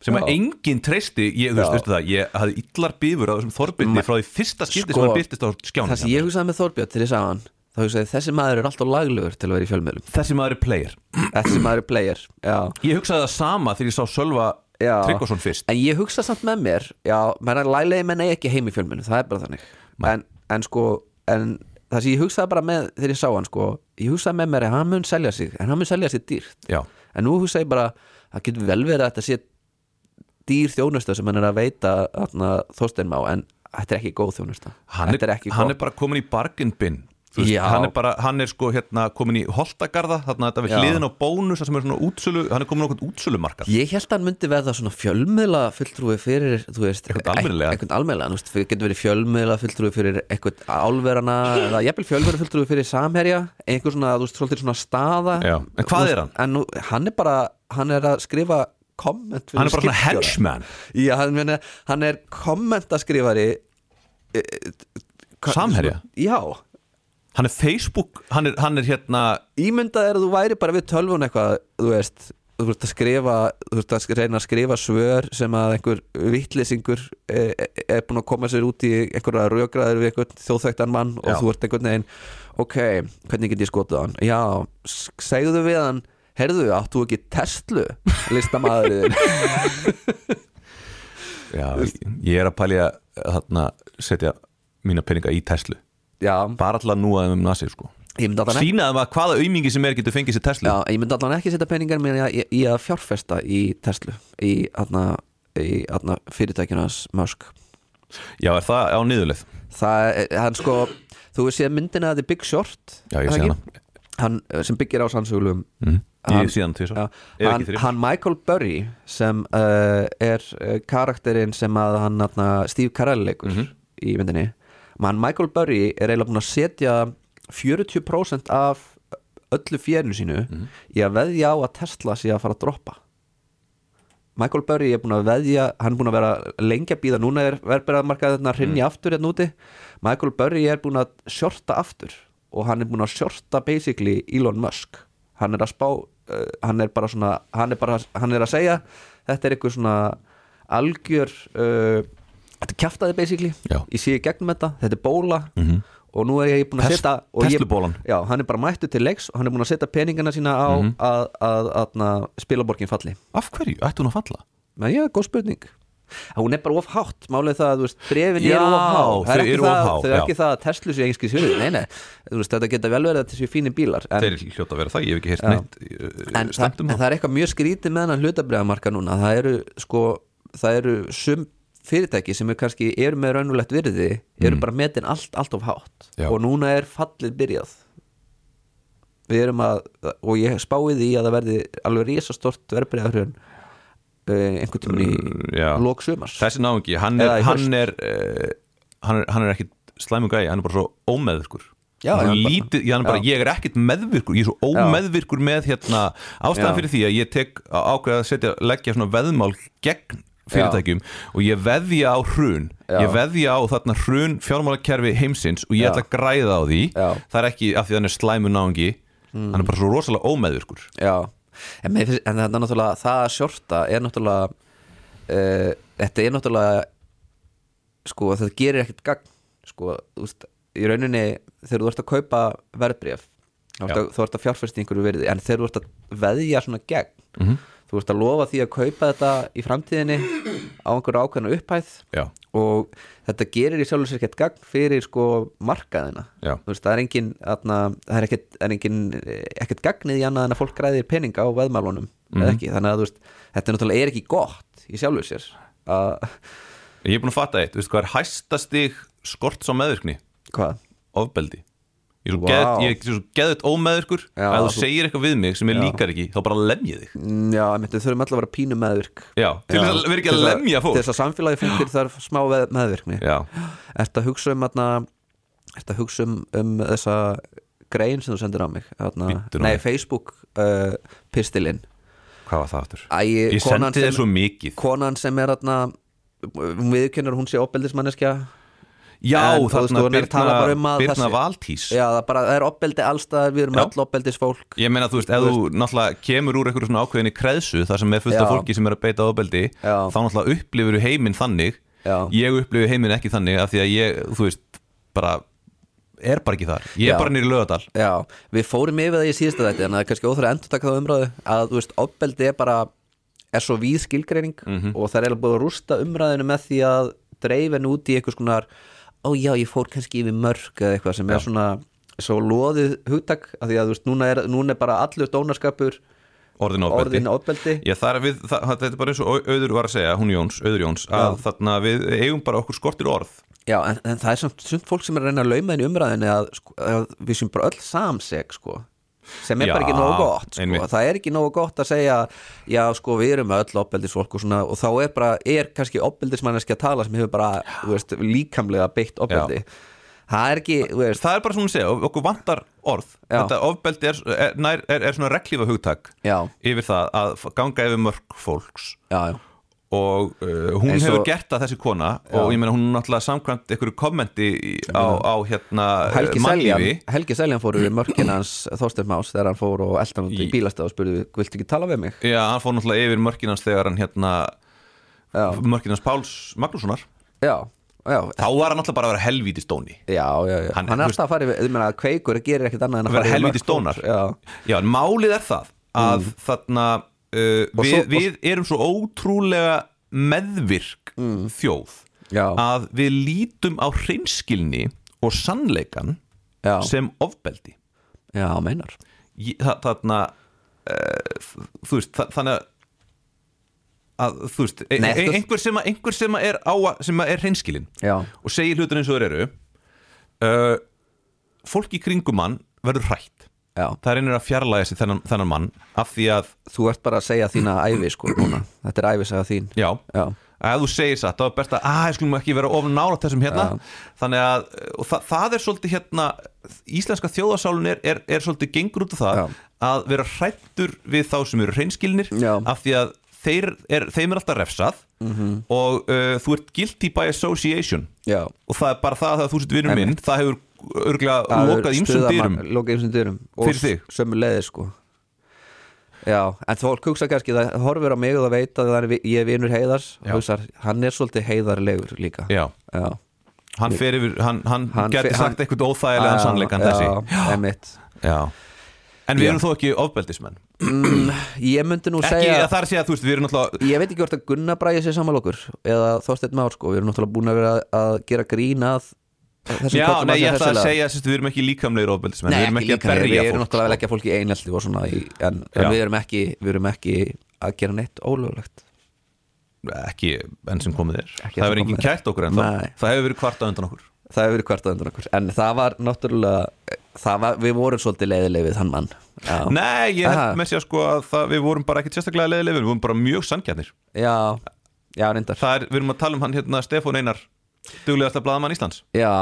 [SPEAKER 4] sem að
[SPEAKER 5] Já.
[SPEAKER 4] enginn treysti ég, þú veist,
[SPEAKER 5] Já.
[SPEAKER 4] veistu það, ég hafði illar bífur á þessum þorbyrni frá því fyrsta skipti
[SPEAKER 5] Sko,
[SPEAKER 4] sem hann byrtist á skjáni
[SPEAKER 5] Það sem ég hugsaði með Þorbjörn til ég sagði hann þá hugsaði ég, þessi maður er alltaf laglegur til að vera í fjölmiðlum
[SPEAKER 4] þessi maður er player
[SPEAKER 5] þessi maður er player, já,
[SPEAKER 4] ég hugsaði það sama þegar ég sá Sölva
[SPEAKER 5] já.
[SPEAKER 4] Tryggvason fyrst
[SPEAKER 5] En ég hugsaði samt með mér, já, menn að laglegi menn eigi ekki heim í fjölmiðlum, það er bara þannig en, en sko, en það sem ég hugsaði bara með þegar ég sá hann sko ég hugsaði með mér að hann mun selja sig en hann mun selja sig dýrt
[SPEAKER 4] já,
[SPEAKER 5] en nú hugsaði ég bara, það getur vel verið að þetta sé dýr þjónusta sem hann er að veita þarna, Þorstein má, en þetta er ekki góð þjónusta
[SPEAKER 4] hann,
[SPEAKER 5] Þetta
[SPEAKER 4] er,
[SPEAKER 5] ekki
[SPEAKER 4] hann
[SPEAKER 5] góð-
[SPEAKER 4] er bara komin í bargain bin Þú
[SPEAKER 5] Já.
[SPEAKER 4] hann er bara, hann er sko hérna komin í Holtagarða, þarna þetta við
[SPEAKER 5] Já.
[SPEAKER 4] hliðin á bónus það sem er svona útsölu, hann er komin á okkur útsölumarkað
[SPEAKER 5] Ég held að hann myndi verða svona fjölmiðla fulltrúi fyrir, þú veist
[SPEAKER 4] Einhvern almennilegan.
[SPEAKER 5] Eitthvað almennilega, þú veist, fyrir- getur verið fjölmiðla fulltrúi fyrir eitthvað álverana eða jafnvel fjölmiðla fulltrúi fyrir samherja einhver svona, þú veist, svolítið svona staða
[SPEAKER 4] Já, en hvað
[SPEAKER 5] Þú veist,
[SPEAKER 4] er hann?
[SPEAKER 5] En nú, hann er bara, hann er að skrifa komment fyrir
[SPEAKER 4] hann er bara svona
[SPEAKER 5] skipstjóra.
[SPEAKER 4] henchman
[SPEAKER 5] Já, hann, meni, hann er kommentaskrivari e, e, hva-
[SPEAKER 4] Samherja?
[SPEAKER 5] Já,
[SPEAKER 4] hann er Facebook, hann er, hann er hérna
[SPEAKER 5] ímyndað er að þú væri bara við tölvun eitthvað, þú veist þú veist að skrifa, þú veist að sk- reyna að skrifa svör sem að einhver vittlisingur er, er búin að koma sér út í einhverja rökraður við einhvern þjóðþæktan mann
[SPEAKER 4] Já.
[SPEAKER 5] og þú ert einhvern veginn ok, hvernig get ég skotað hann? Já, s- segðu við hann heyrðu, áttu ekki Tesla listamaðurinn
[SPEAKER 4] Já, ég er að pælja þarna setja mína peninga í Tesla
[SPEAKER 5] Já,
[SPEAKER 4] bara alltaf nú að um nasi sko
[SPEAKER 5] Ég myndi allan ekki,
[SPEAKER 4] Sýnaðum að hvaða aumingi sem er getur fengið sér Tesla
[SPEAKER 5] já, ég myndi allan ekki setja peningar mér í, í að fjárfesta í Tesla í, atna, í atna, fyrirtækjun hans Musk
[SPEAKER 4] Já, er það á niðurleið?
[SPEAKER 5] Það er, hann sko þú hefur séð myndina að The Big Short
[SPEAKER 4] Já, ég
[SPEAKER 5] er
[SPEAKER 4] sé
[SPEAKER 5] það
[SPEAKER 4] hana
[SPEAKER 5] ekki? hann eh, sem byggir á sannsögulegum
[SPEAKER 4] mm.
[SPEAKER 5] Hann-
[SPEAKER 4] Ég sé hana tvisar
[SPEAKER 5] Já,
[SPEAKER 4] Ef
[SPEAKER 5] hann,
[SPEAKER 4] ekki þrír.
[SPEAKER 5] hann Michael Burry sem uh, er uh, karakterinn sem að hann atna, Steve Carell leikur
[SPEAKER 4] Mhm.
[SPEAKER 5] í myndinni Um, hann Michael Burry er eiginlega búinn að setja 40% af öllu fjörinu sínu
[SPEAKER 4] Mhm.
[SPEAKER 5] í að veðja á að Tesla sé að fara að droppa Michael Burry er búinn að veðja hann er búinn að vera lengi að býða núna er verðbæraðmarkaði þarna
[SPEAKER 4] Mm.
[SPEAKER 5] hrinni aftur hérna úti Michael Burry er búinn að shorta aftur og hann er búinn að shorta basically Elon Musk hann er að spá uh, hann er bara svona hann er, bara, hann er að segja þetta er eitthvað svona algjör uh, þetta er kjaftaði basically
[SPEAKER 4] Já. Mhm.
[SPEAKER 5] ég sé í gegnum þetta, þetta er bóla og nú er ég búinn að
[SPEAKER 4] Tes-
[SPEAKER 5] setja og ég-
[SPEAKER 4] Teslubólan. Mhm.
[SPEAKER 5] já, hann er bara mættu til leiks og hann er búinn að setja peningana sína á að, að, að, að spilaborgin falli
[SPEAKER 4] Af hverju? Ætti hún að falla?
[SPEAKER 5] Nei, já, góð spurning Að Hún er bara of hátt, málið er það að þú veist, brefin
[SPEAKER 4] Já,
[SPEAKER 5] eru of há Það er
[SPEAKER 4] þau
[SPEAKER 5] ekki
[SPEAKER 4] eru of
[SPEAKER 5] það-
[SPEAKER 4] há,
[SPEAKER 5] Þau er
[SPEAKER 4] já.
[SPEAKER 5] ekki það að Tesla sé engiski svirði Nei, nei, þú veist, þetta geta vel verið að þetta séu fínir bílar en,
[SPEAKER 4] Þeir hljóta að vera það, ég hef ekki heyrt
[SPEAKER 5] Já.
[SPEAKER 4] neitt
[SPEAKER 5] en,
[SPEAKER 4] eh,
[SPEAKER 5] það,
[SPEAKER 4] slæmt um
[SPEAKER 5] en
[SPEAKER 4] það
[SPEAKER 5] það er eitthvað mjög skrítið með hann hlutabræðamarka núna Það eru, sko, það eru sum fyrirtæki sem er kannski eru með raunulegt virði eru bara metin allt, allt of hátt
[SPEAKER 4] Mm. Já.
[SPEAKER 5] og núna er fallið byrjað við erum að og ég spáði því að það verði alveg risastort verðbyrjaðarhjörn einhvern tímun í
[SPEAKER 4] Eh, Já.
[SPEAKER 5] lok sumars
[SPEAKER 4] Þessi náungi, hann er
[SPEAKER 5] Eða í
[SPEAKER 4] hann er, eh, hann er, hann er ekkit slæmu gæi, hann er bara svo ómeðvirkur
[SPEAKER 5] Já,
[SPEAKER 4] hann er
[SPEAKER 5] já, bara-
[SPEAKER 4] lítið, já, hann er bara,
[SPEAKER 5] já.
[SPEAKER 4] ég er ekkit meðvirkur ég er svo ómeðvirkur með hérna ástæðan
[SPEAKER 5] Já.
[SPEAKER 4] fyrir því að ég tek ákveða að setja, leggja svona veðmál gegn fyrirtækjum og ég veðja á hrun
[SPEAKER 5] Já.
[SPEAKER 4] ég veðja á þarna hrun fjármálakerfi heimsins og ég
[SPEAKER 5] Já.
[SPEAKER 4] ætla að græða á því
[SPEAKER 5] Já. Hmm.
[SPEAKER 4] það er ekki af því að hann er slæmu náungi hann er bara svo rosalega ómeðvirkur
[SPEAKER 5] Já, en, mér finnst, en þetta er náttúrulega það að sjorta er náttúrulega uh, þetta er náttúrulega sko, þetta gerir ekkert gagn sko, þú veist, í rauninni þegar þú ert að kaupa verðbréf þú ert að, þú ert að fjárfæst í einhverju verði en þegar þú ert að veðja svona gegn þú ert að lofa því að kaupa þetta í framtíðinni á einhverju ákveðna upphæð
[SPEAKER 4] Já.
[SPEAKER 5] og þetta gerir í sjálfur sér ekkert gagn fyrir sko markaðina
[SPEAKER 4] Já.
[SPEAKER 5] Þú veist, það er engin, atna, það er ekkert, það er engin eh, ekkert gagnið í annað en að fólk græðir peninga á veðmálunum
[SPEAKER 4] Mhm.
[SPEAKER 5] eða ekki, þannig að þú veist, þetta er náttúrulega er ekki gott í sjálfur sér að,
[SPEAKER 4] ég er búin að fatta eitt, veistu hvað er hæstastig skorts á meðvirkni?
[SPEAKER 5] hvað?
[SPEAKER 4] ofbeldi Ég er svo
[SPEAKER 5] Vá.
[SPEAKER 4] geðveikt- ég er svo geðut ómeðurkur
[SPEAKER 5] Já,
[SPEAKER 4] að þú
[SPEAKER 5] þú-
[SPEAKER 4] segir eitthvað við mig sem ég líkar ekki þá bara lem ég þig
[SPEAKER 5] Mm, Já, einmitt, við þurfum alltaf að vera pínu meðvirk
[SPEAKER 4] Já, til þess að vera ekki að
[SPEAKER 5] Til
[SPEAKER 4] lemja fólk
[SPEAKER 5] Til þess að samfélagi fengir þar smá veð- meðvirkni
[SPEAKER 4] Já,
[SPEAKER 5] Ertu að hugsa um atna, ertu að hugsa um, um þessa grein sem þú sendir á mig atna,
[SPEAKER 4] Bíddu nú
[SPEAKER 5] Nei,
[SPEAKER 4] við.
[SPEAKER 5] Facebook uh, pistilinn
[SPEAKER 4] hvað var það aftur?
[SPEAKER 5] Æ,
[SPEAKER 4] Ég
[SPEAKER 5] konan
[SPEAKER 4] sendi þér
[SPEAKER 5] sem-
[SPEAKER 4] svo mikið
[SPEAKER 5] konan sem er atna, hún viðkennur að hún sé opbeldismanneskja
[SPEAKER 4] Já,
[SPEAKER 5] En, þú veist,
[SPEAKER 4] þarna
[SPEAKER 5] hún er að tala bara um
[SPEAKER 4] Birna,
[SPEAKER 5] að
[SPEAKER 4] Birna
[SPEAKER 5] þessi-
[SPEAKER 4] Valtís
[SPEAKER 5] Já, það, bara, það er opbeldi allstaðar, við erum
[SPEAKER 4] Já.
[SPEAKER 5] öll opbeldisfólk
[SPEAKER 4] Ég meina, þú veist, ef þú náttúrulega kemur úr einhverju svona ákveðinni kreðsu þar sem er fullt af
[SPEAKER 5] Já.
[SPEAKER 4] fólki sem er að beita ofbeldi
[SPEAKER 5] Já.
[SPEAKER 4] þá náttúrulega upplifur þú heiminn þannig
[SPEAKER 5] Já.
[SPEAKER 4] ég upplifu heiminn ekki þannig af því að ég, þú veist, bara er bara ekki þar, ég
[SPEAKER 5] Já.
[SPEAKER 4] er bara nýri lögadal
[SPEAKER 5] Já, við fórum yfir það í síðasta þetta en það er kannski óþur að endur taka það umræðu að þú veist, ofbeldi er bara er svo víð skilgreining
[SPEAKER 4] Mhm.
[SPEAKER 5] og það er eiginlega búið að rústa umræðinu með því að dreifin út í eitthvað skonar ó já, ég fór kannski yfir mörg eða eitthvað sem er svona svo loðið hugtak af því að þú veist, núna er, núna er bara allur dónaskapur
[SPEAKER 4] Orðin ofbeldi
[SPEAKER 5] orðin ofbeldi
[SPEAKER 4] Já, það er við, það, þetta er bara eins og Au- auður var að segja, hún Jóns, auður Jóns að
[SPEAKER 5] Já.
[SPEAKER 4] þarna við eigum bara okkur skortir orð
[SPEAKER 5] Já, en, en það er samt sumt fólk sem er að reyna að lauma þenni umræðinni að, sko, að við sem bara öll samseg sko sem er
[SPEAKER 4] Já,
[SPEAKER 5] bara ekki nógu gott sko.
[SPEAKER 4] einmitt.
[SPEAKER 5] það er ekki nógu gott að segja já sko við erum öll opbeldisfólk og, svona, og þá er bara, er kannski opbeldismanneski að tala sem hefur bara, þú veist, líkamlega beitt opbeldi það er ekki, þú veist,
[SPEAKER 4] Það er bara svona að segja, okkur vantar orð
[SPEAKER 5] Já.
[SPEAKER 4] Þetta ofbeldi er, er, nær- er, er svona reglífa hugtak
[SPEAKER 5] Já.
[SPEAKER 4] yfir það að f- ganga yfir mörg fólks
[SPEAKER 5] já, já
[SPEAKER 4] og uh, hún
[SPEAKER 5] Eins
[SPEAKER 4] hefur
[SPEAKER 5] og-
[SPEAKER 4] gert það þessi kona og ég meina hún er náttúrulega samkvæmt einhverju kommenti í- á, á hérna
[SPEAKER 5] Helgi
[SPEAKER 4] eh,
[SPEAKER 5] Seljan,
[SPEAKER 4] mannlífi.
[SPEAKER 5] Helgi Seljan fór yfir mörkin hans Þorstein Más þegar hann fór og eldan út í
[SPEAKER 4] Í-
[SPEAKER 5] bílastæð og spurði, viltu ekki tala við mig?
[SPEAKER 4] Já, hann fór náttúrulega yfir mörkinans þegar hann hérna
[SPEAKER 5] Já.
[SPEAKER 4] mörkinans Páls Magnússonar
[SPEAKER 5] Já, já,
[SPEAKER 4] þá var hann náttúrulega bara að vera helvíti stóni
[SPEAKER 5] Já, já, já,
[SPEAKER 4] Hann-
[SPEAKER 5] hann,
[SPEAKER 4] þú
[SPEAKER 5] er
[SPEAKER 4] veist-
[SPEAKER 5] alltaf að fara yfir, þú meina að kveikur gerir ekkert annað en að
[SPEAKER 4] að vera
[SPEAKER 5] fara yfir
[SPEAKER 4] helviti
[SPEAKER 5] mörk
[SPEAKER 4] stónar
[SPEAKER 5] fólks, Já, Mm.
[SPEAKER 4] en málið er það að þarna uh,
[SPEAKER 5] Og
[SPEAKER 4] við,
[SPEAKER 5] svo- og-
[SPEAKER 4] við erum svo ótrúlega meðvirk þjóð
[SPEAKER 5] Mm. Já.
[SPEAKER 4] að við lítum á hreinskilni og sannleikan
[SPEAKER 5] Já.
[SPEAKER 4] sem ofbeldi
[SPEAKER 5] já, meinar
[SPEAKER 4] Ég- þa- þarna uh, þú veist, þa þannig að að, þú veist, e
[SPEAKER 5] Nei,
[SPEAKER 4] e
[SPEAKER 5] þú-
[SPEAKER 4] einhver sem, að- einhver sem að er á að- sem að er hreinskilin
[SPEAKER 5] Já.
[SPEAKER 4] og segir hlutur eins og þeir eru uh, fólk í kringum hann verður hrætt
[SPEAKER 5] já.
[SPEAKER 4] það reynir að fjarlæga sig þennan, þennan mann af því að,
[SPEAKER 5] þú ert bara að segja þína ævi sko núna þetta er ævisaga þín
[SPEAKER 4] já,
[SPEAKER 5] Já.
[SPEAKER 4] að þú segir satt, þá er best að, að, skulum ekki vera of nálægt þessum hérna, þannig að og þa það er svolítið hérna íslenska þjóðasálun er, er, er svolítið gengur út af það
[SPEAKER 5] Já.
[SPEAKER 4] að vera hrættur við þá sem eru hreinskilnir
[SPEAKER 5] Já. Mhm.
[SPEAKER 4] af því að þeir er, þeim er alltaf refsað -hmm. og uh, þú ert guilty by association
[SPEAKER 5] Já.
[SPEAKER 4] og það er bara það að þú sitt vinnur minn það hefur örgulega
[SPEAKER 5] Það er
[SPEAKER 4] lokað ímsum
[SPEAKER 5] stuðamann-
[SPEAKER 4] dyrum
[SPEAKER 5] lokað ýmsum dyrum
[SPEAKER 4] Fyrir þig.
[SPEAKER 5] sömu leiði sko já, en þú fólk hugsa kannski það horfir á mig og það veit að það er, vi- ég er vinur heiðars
[SPEAKER 4] Já.
[SPEAKER 5] hugsar, hann er svolítið heiðarlegur líka
[SPEAKER 4] já,
[SPEAKER 5] já.
[SPEAKER 4] hann fer yfir hann, hann,
[SPEAKER 5] Hann
[SPEAKER 4] geti
[SPEAKER 5] fer-
[SPEAKER 4] sagt
[SPEAKER 5] hann-
[SPEAKER 4] eitthvað óþægilegan sannleikan þessi
[SPEAKER 5] já, einmitt.
[SPEAKER 4] Já En við
[SPEAKER 5] Já.
[SPEAKER 4] erum þó ekki ofbeldismenn
[SPEAKER 5] ég myndi nú
[SPEAKER 4] Ekki
[SPEAKER 5] segja
[SPEAKER 4] að það sé að þú veist, við erum náttúrulega
[SPEAKER 5] ég veit ekki hvort að Gunnar bræði sér saman okkur eða Þorsteinn Már sko, við erum náttúrulega búin að vera að gera grín að þessum
[SPEAKER 4] Já,
[SPEAKER 5] köllum
[SPEAKER 4] nei,
[SPEAKER 5] hans
[SPEAKER 4] ég ætla að
[SPEAKER 5] hressilega.
[SPEAKER 4] segja sérst, við erum ekki líkamlegir ofbeldismenn Við erum ekki að
[SPEAKER 5] líka,
[SPEAKER 4] berja
[SPEAKER 5] við erum
[SPEAKER 4] fólk sko.
[SPEAKER 5] náttúrulega að leggja fólki einelti og svona í, en,
[SPEAKER 4] Já.
[SPEAKER 5] en við, erum ekki, við erum ekki að gera neitt ólöglegt
[SPEAKER 4] Sko, Ekki enn sem komið er Það
[SPEAKER 5] Ekki enn sem
[SPEAKER 4] hefur enginn
[SPEAKER 5] komið er.
[SPEAKER 4] kært okkur en það
[SPEAKER 5] Nei.
[SPEAKER 4] Það hefur verið kvartað undan okkur
[SPEAKER 5] það hefur verið kvartað undan okkur en það var náttúrulega það var, við vorum svolítið leiðileg við þann mann já,
[SPEAKER 4] Nei, ég
[SPEAKER 5] Aha.
[SPEAKER 4] held með sér sko að það, við vorum bara ekki sérstaklega leðilegir Við vorum bara mjög sangjarnir
[SPEAKER 5] já, já reyndar
[SPEAKER 4] Það er, við erum að tala um hann hérna Stefán Einar Duglegasta blaðamann Íslands
[SPEAKER 5] já,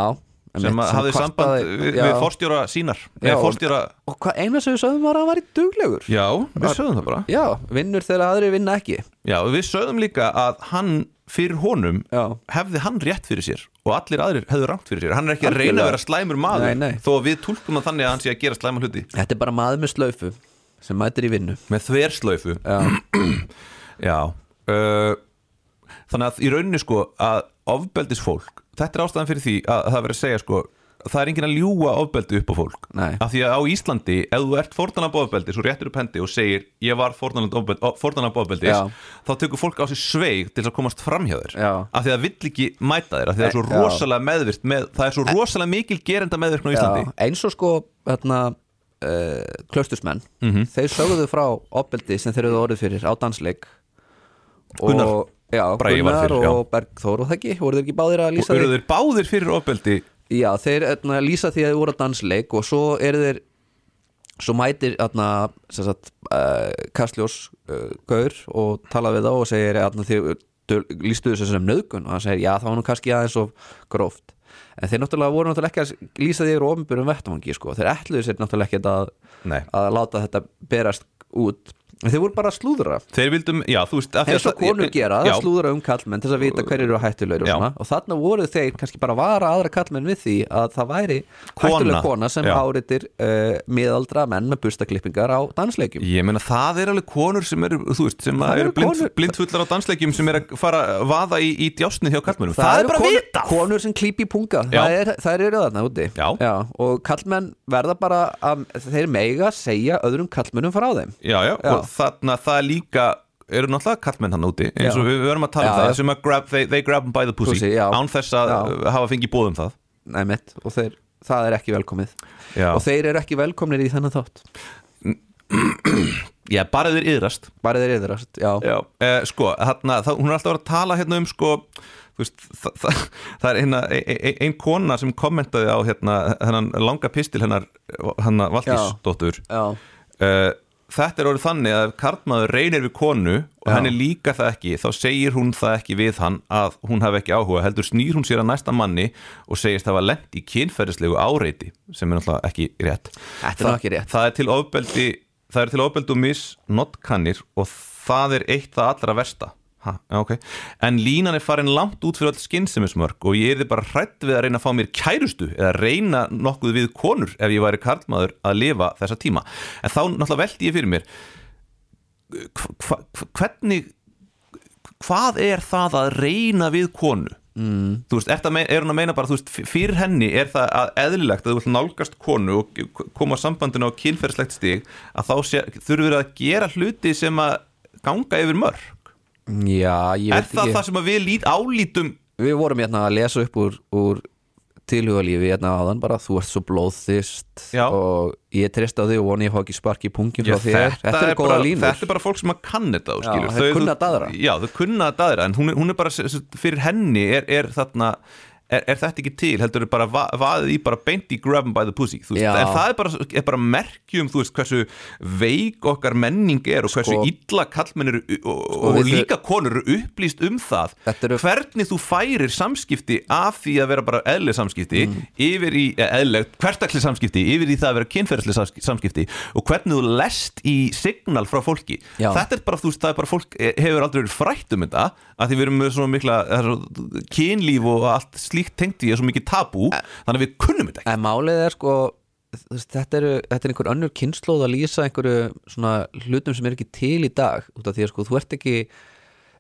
[SPEAKER 4] Sem að hafði
[SPEAKER 5] kvartaði-
[SPEAKER 4] samband við,
[SPEAKER 5] já.
[SPEAKER 4] við forstjóra sínar
[SPEAKER 5] Já,
[SPEAKER 4] Eða
[SPEAKER 5] og-
[SPEAKER 4] forstjóra
[SPEAKER 5] og hvað eina sem við sögðum var að hann var í duglegur
[SPEAKER 4] Já, við sögðum það bara
[SPEAKER 5] já, vinnur þegar aðri vinna ekki
[SPEAKER 4] Já, við sögðum líka að hann fyrir honum
[SPEAKER 5] Já.
[SPEAKER 4] hefði hann rétt fyrir sér og allir aðrir hefðu rangt fyrir sér hann er ekki að reyna að
[SPEAKER 5] Algjörlega.
[SPEAKER 4] vera slæmur maður
[SPEAKER 5] Nei, nei.
[SPEAKER 4] þó að við tólkum það þannig að hann sé að gera slæma hluti
[SPEAKER 5] þetta er bara maður með slaufu sem mætir í vinnu
[SPEAKER 4] með þverslaufu
[SPEAKER 5] já,
[SPEAKER 4] Já uh, Þannig að í rauninni sko að ofbeldis fólk, þetta er ástæðan fyrir því að það verið að segja sko það er enginn að ljúga ofbeldi upp á fólk
[SPEAKER 5] Nei.
[SPEAKER 4] af því að á Íslandi, ef þú ert fórnarlamb ofbeldi svo réttur upp hendi og segir ég var fórnarlamb ofbeldi
[SPEAKER 5] Já.
[SPEAKER 4] þá tekur fólk á sig sveig til að komast fram hjá þér
[SPEAKER 5] Já.
[SPEAKER 4] af því að það vill ekki mæta þér af því að það er svo
[SPEAKER 5] Já.
[SPEAKER 4] rosalega meðvirkt með, það er svo rosalega mikil gerenda meðvirkn á Íslandi
[SPEAKER 5] Já, eins og sko hérna, uh, klaustursmenn
[SPEAKER 4] Mhm.
[SPEAKER 5] þeir sögðu frá opbeldi sem þeir eru orðið fyrir á dansleik og,
[SPEAKER 4] Gunnar
[SPEAKER 5] já,
[SPEAKER 4] Bragi var
[SPEAKER 5] Gunnar
[SPEAKER 4] fyrir, já.
[SPEAKER 5] og Bergþór og það ekki, voru þeir ekki báðir að
[SPEAKER 4] og
[SPEAKER 5] lýsa
[SPEAKER 4] eru
[SPEAKER 5] því
[SPEAKER 4] þeir báðir fyrir ofbeldi
[SPEAKER 5] já, þeir hérna, lýsa því að þeir voru á dansleik og svo eru þeir svo mætir hérna, sem sagt, uh, Kastljós uh, Gaur og tala við þá og segir hérna, þið dul- lýstu þessu sem nöðgun og hann segir já, það var nú kannski aðeins of gróft en þeir náttúrulega voru náttúrulega ekki að lýsa því yfir ofinbjörnum vettvangi sko, þeir ætluðu sér náttúrulega ekki að,
[SPEAKER 4] Nei.
[SPEAKER 5] að láta þetta berast út, en þeir voru bara að slúðra
[SPEAKER 4] þeir vildum, já þú veist af því að
[SPEAKER 5] eins og
[SPEAKER 4] það-
[SPEAKER 5] konur gera,
[SPEAKER 4] Já.
[SPEAKER 5] það slúðra um kallmenn til þess að vita hverjir eru hættulegur og,
[SPEAKER 4] Já.
[SPEAKER 5] svona. og þarna voru þeir kannski bara að vara aðra kallmenn við því að það væri
[SPEAKER 4] Kona.
[SPEAKER 5] hættuleg kona sem
[SPEAKER 4] Já.
[SPEAKER 5] áritir uh, miðaldra menn með bustaklippingar á dansleikjum
[SPEAKER 4] Ég meina það er alveg konur sem eru, þú veist, sem
[SPEAKER 5] Það
[SPEAKER 4] eru,
[SPEAKER 5] eru
[SPEAKER 4] blind,
[SPEAKER 5] konur-
[SPEAKER 4] blindfullar á dansleikjum sem eru að fara að vaða í, í djásnið hjá kallmennum. Það,
[SPEAKER 5] eru
[SPEAKER 4] er bara
[SPEAKER 5] konur,
[SPEAKER 4] vita.
[SPEAKER 5] konur sem klíp í punga,
[SPEAKER 4] Já.
[SPEAKER 5] það, er, það eru þarna úti
[SPEAKER 4] Já.
[SPEAKER 5] og kallmenn verða bara að, þeir mega segja öðrum kallmennum frá þeim
[SPEAKER 4] Já, já,
[SPEAKER 5] Já.
[SPEAKER 4] og þarna það er líka, eru náttúrulega kallmenn hann úti, eins
[SPEAKER 5] Já.
[SPEAKER 4] og við verum að tala um
[SPEAKER 5] Já,
[SPEAKER 4] það,
[SPEAKER 5] já.
[SPEAKER 4] sem að grab, they, they grab them by the pussy,
[SPEAKER 5] Pussy, já.
[SPEAKER 4] án þess að
[SPEAKER 5] Já.
[SPEAKER 4] hafa fengið bóð um það.
[SPEAKER 5] Nei, mitt, og þeir, það er ekki velkomið
[SPEAKER 4] Já.
[SPEAKER 5] og þeir eru ekki velkomnir í þennan þátt
[SPEAKER 4] Já, bara þeir yðrast.
[SPEAKER 5] bara þeir eru þar, já
[SPEAKER 4] Já. Eh, sko, þarna, það, hún er alltaf að vera að tala hérna um sko, þú veist, það, það, það er hérna ein, ein, ein kona sem kommentaði á hérna, hennan langa pistil hennar, hennar Valdísdóttur.
[SPEAKER 5] Já.
[SPEAKER 4] Eh, þetta er orðið þannig að ef karlmaður reynir við konu og
[SPEAKER 5] Já.
[SPEAKER 4] henni líka það ekki þá segir hún það ekki við hann að hún hafi ekki áhuga heldur snýr hún sér að næsta manni og segist hafa lent í kynferðislegu áreiti sem er náttúrulega ekki rétt
[SPEAKER 5] Þetta er nú ekki rétt.
[SPEAKER 4] það er til ofbeldi það er til ofbeldi og misnotkanir og það er eitt það allra versta ha, já, ok. en línan er farin langt út fyrir öll skinsemismörk og ég er bara hrætt við að reyna að fá mér kærustu eða reyna nokkuð við konur ef ég væri karlmaður að lifa þessa tíma en þá náttúrulega veldi ég fyrir mér hva, hva, hvernig hvað er það að reyna við konu mm. þú veist, er, er hún að meina bara þú veist, f- fyrir henni er það að eðlilegt að þú vilt nálgast konu og k- koma sambandinu á kynferðslegt stig að þá sé- þurfir að gera hluti sem að ganga yfir mörg
[SPEAKER 5] Já, ég
[SPEAKER 4] er
[SPEAKER 5] veit
[SPEAKER 4] það
[SPEAKER 5] ekki
[SPEAKER 4] það sem að við lít, álítum
[SPEAKER 5] Við vorum hérna að lesa upp úr, úr tilhugalífi hérna áðan bara þú ert svo blóðþist
[SPEAKER 4] Já.
[SPEAKER 5] og ég treyst á þig og voni ég hafa ekki sparki í punkin
[SPEAKER 4] Já,
[SPEAKER 5] frá þér, þetta eru góða
[SPEAKER 4] bara,
[SPEAKER 5] línur
[SPEAKER 4] þetta er bara fólk sem að kann þetta þú
[SPEAKER 5] Já,
[SPEAKER 4] skilur.
[SPEAKER 5] þeir kunna að daðra.
[SPEAKER 4] já, þau kunna að daðra en hún er, hún er bara, s- s- fyrir henni er, er þarna Er, er þetta ekki til, heldur er bara va vaðið í bara beint í grab 'em by the pussy þú veist,
[SPEAKER 5] Já.
[SPEAKER 4] en það er bara, er bara merkjum þú veist hversu veik okkar menning er og hversu
[SPEAKER 5] Sko-
[SPEAKER 4] illa kallmenn eru u- og,
[SPEAKER 5] við
[SPEAKER 4] og
[SPEAKER 5] þau-
[SPEAKER 4] líka konur eru upplýst um það
[SPEAKER 5] Þetta eru-
[SPEAKER 4] hvernig þú færir samskipti af því að vera bara eðlið samskipti
[SPEAKER 5] Mm.
[SPEAKER 4] yfir í, eðlið, hvertakli samskipti yfir í það að vera kynferðsli samskipti og hvernig þú lest í signal frá fólki,
[SPEAKER 5] Já.
[SPEAKER 4] þetta er bara þú veist, það er bara fólk eh, hefur aldrei verið frætt um þetta að því við erum með svona mikla það er svo- kynlíf og allt slíkt tengt í er svo mikið tabú, þannig að við kunnum þetta ekki
[SPEAKER 5] en málið er sko þú veist, þetta, eru, þetta er einhver önnur kynnslóð að lýsa einhverju svona hlutum sem er ekki til í dag út af því að sko þú ert ekki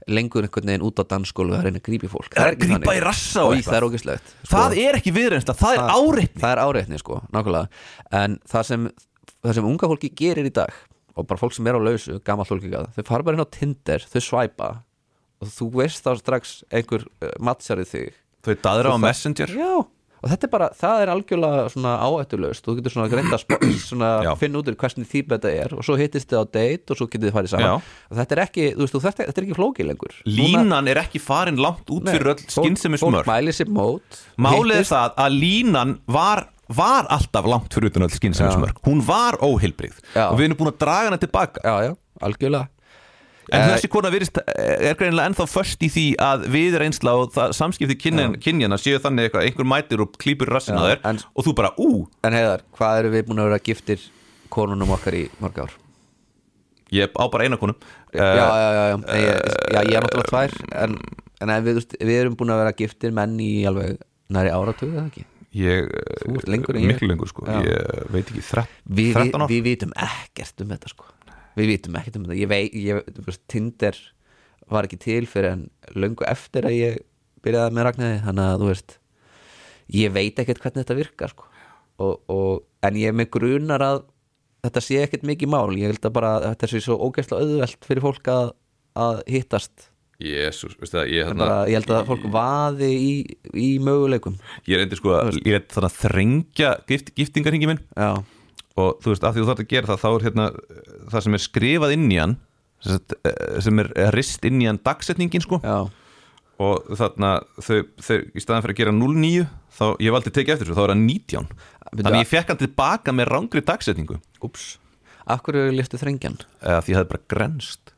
[SPEAKER 5] lengur einhvern veginn út á dansskólu að reyna að grípa í fólk
[SPEAKER 4] Það er
[SPEAKER 5] ekki
[SPEAKER 4] grípa
[SPEAKER 5] þannig.
[SPEAKER 4] í rassa og
[SPEAKER 5] Í,
[SPEAKER 4] eitthvað.
[SPEAKER 5] það er ógislegt
[SPEAKER 4] það er ekki viðreynsla, það er áreitni
[SPEAKER 5] sko. það er áreitni sko, nákvæmlega en það sem, það sem unga fólki gerir í dag og bara fólk sem er á lausu, gammal fólki gæða þau fara bara inn á Tinder, þau svæpa og þú veist þá strax einhver uh, mattsjarið þig
[SPEAKER 4] þau daðra á
[SPEAKER 5] það-
[SPEAKER 4] messenger
[SPEAKER 5] Já, og þetta er bara, það er algjörlega svona áættulaust, þú getur svona greint að spo- svona
[SPEAKER 4] Já.
[SPEAKER 5] finna út úr hversnig típ þetta er og svo hittist þið á date og svo getið þið farið saman
[SPEAKER 4] Já.
[SPEAKER 5] og þetta er ekki, þú veist, þú, þetta, þetta er ekki flókið lengur Núna-
[SPEAKER 4] línan er ekki farin langt út
[SPEAKER 5] Nei,
[SPEAKER 4] fyrir öll
[SPEAKER 5] fólk-
[SPEAKER 4] skinsemismörk
[SPEAKER 5] Fólk mælir sér mót
[SPEAKER 4] Málið er
[SPEAKER 5] hittist-
[SPEAKER 4] það að línan var, var alltaf langt fyrir utan öll skynsefnismörk Hún var óheilbrigð
[SPEAKER 5] Já.
[SPEAKER 4] og við erum búin að draga hana tilbaka
[SPEAKER 5] Já, já, algjörlega
[SPEAKER 4] En
[SPEAKER 5] Eh,
[SPEAKER 4] þessi kona virist, er greinilega ennþá först í því að við reynsla og það, samskipti kynjan, kynjana séu þannig eitthvað einhver mætir og klýpur rassin að
[SPEAKER 5] Já,
[SPEAKER 4] þér
[SPEAKER 5] en-
[SPEAKER 4] og þú bara ú,
[SPEAKER 5] En heiðar, hvað eru við búin að vera giftir konunum okkar í mörg ár?
[SPEAKER 4] ég á bara eina Eh, konum
[SPEAKER 5] já, já, já, já, nei, ég, já, ég er náttúrulega tvær en, en ef við, þú veist, við erum búin að vera giftir menn í alveg næri áratug eða ekki
[SPEAKER 4] Ég, eh,
[SPEAKER 5] Þú ert lengur en ég.
[SPEAKER 4] miklu lengur sko,
[SPEAKER 5] Já.
[SPEAKER 4] ég veit ekki þrepp,
[SPEAKER 5] Við, við,
[SPEAKER 4] 13 ár
[SPEAKER 5] við vitum ekkert um þetta sko Við vitum ekkert um þetta Ég vei, ég, þú veist, Tinder var ekki til fyrir en löngu eftir að ég byrjaði með Ragnæði þannig að þú veist ég veit ekkert hvernig þetta virkar sko. og, og, en ég er með grunar að þetta sé ekkert mikið mál ég held að bara að þetta sé svo ógeðslega auðvelt fyrir fólk að, að hittast
[SPEAKER 4] Jésús, veistu það, ég,
[SPEAKER 5] Það er
[SPEAKER 4] hérna,
[SPEAKER 5] bara, ég held að fólk vaði í, í möguleikum
[SPEAKER 4] ég reyndi sko að ég reyndi þannig að þrengja gift, giftingarhingi minn
[SPEAKER 5] já,
[SPEAKER 4] og þú veist, af því þú þarf að gera það þá er hérna eh, það sem er skrifað inn í hann sem sagt, eh, sem er eh, rist inn í hann dagsetningin sko
[SPEAKER 5] já,
[SPEAKER 4] og þarna þau, þau í staðan fyrir að gera 09 þá ég valdi að tekið eftir þessu, þá er það 19
[SPEAKER 5] Bíddu,
[SPEAKER 4] þannig
[SPEAKER 5] að-
[SPEAKER 4] ég fekk hann tilbaka með rángri dagsetningu
[SPEAKER 5] úps af hverju listu þrengjan?
[SPEAKER 4] eða því ég hafði bara grenst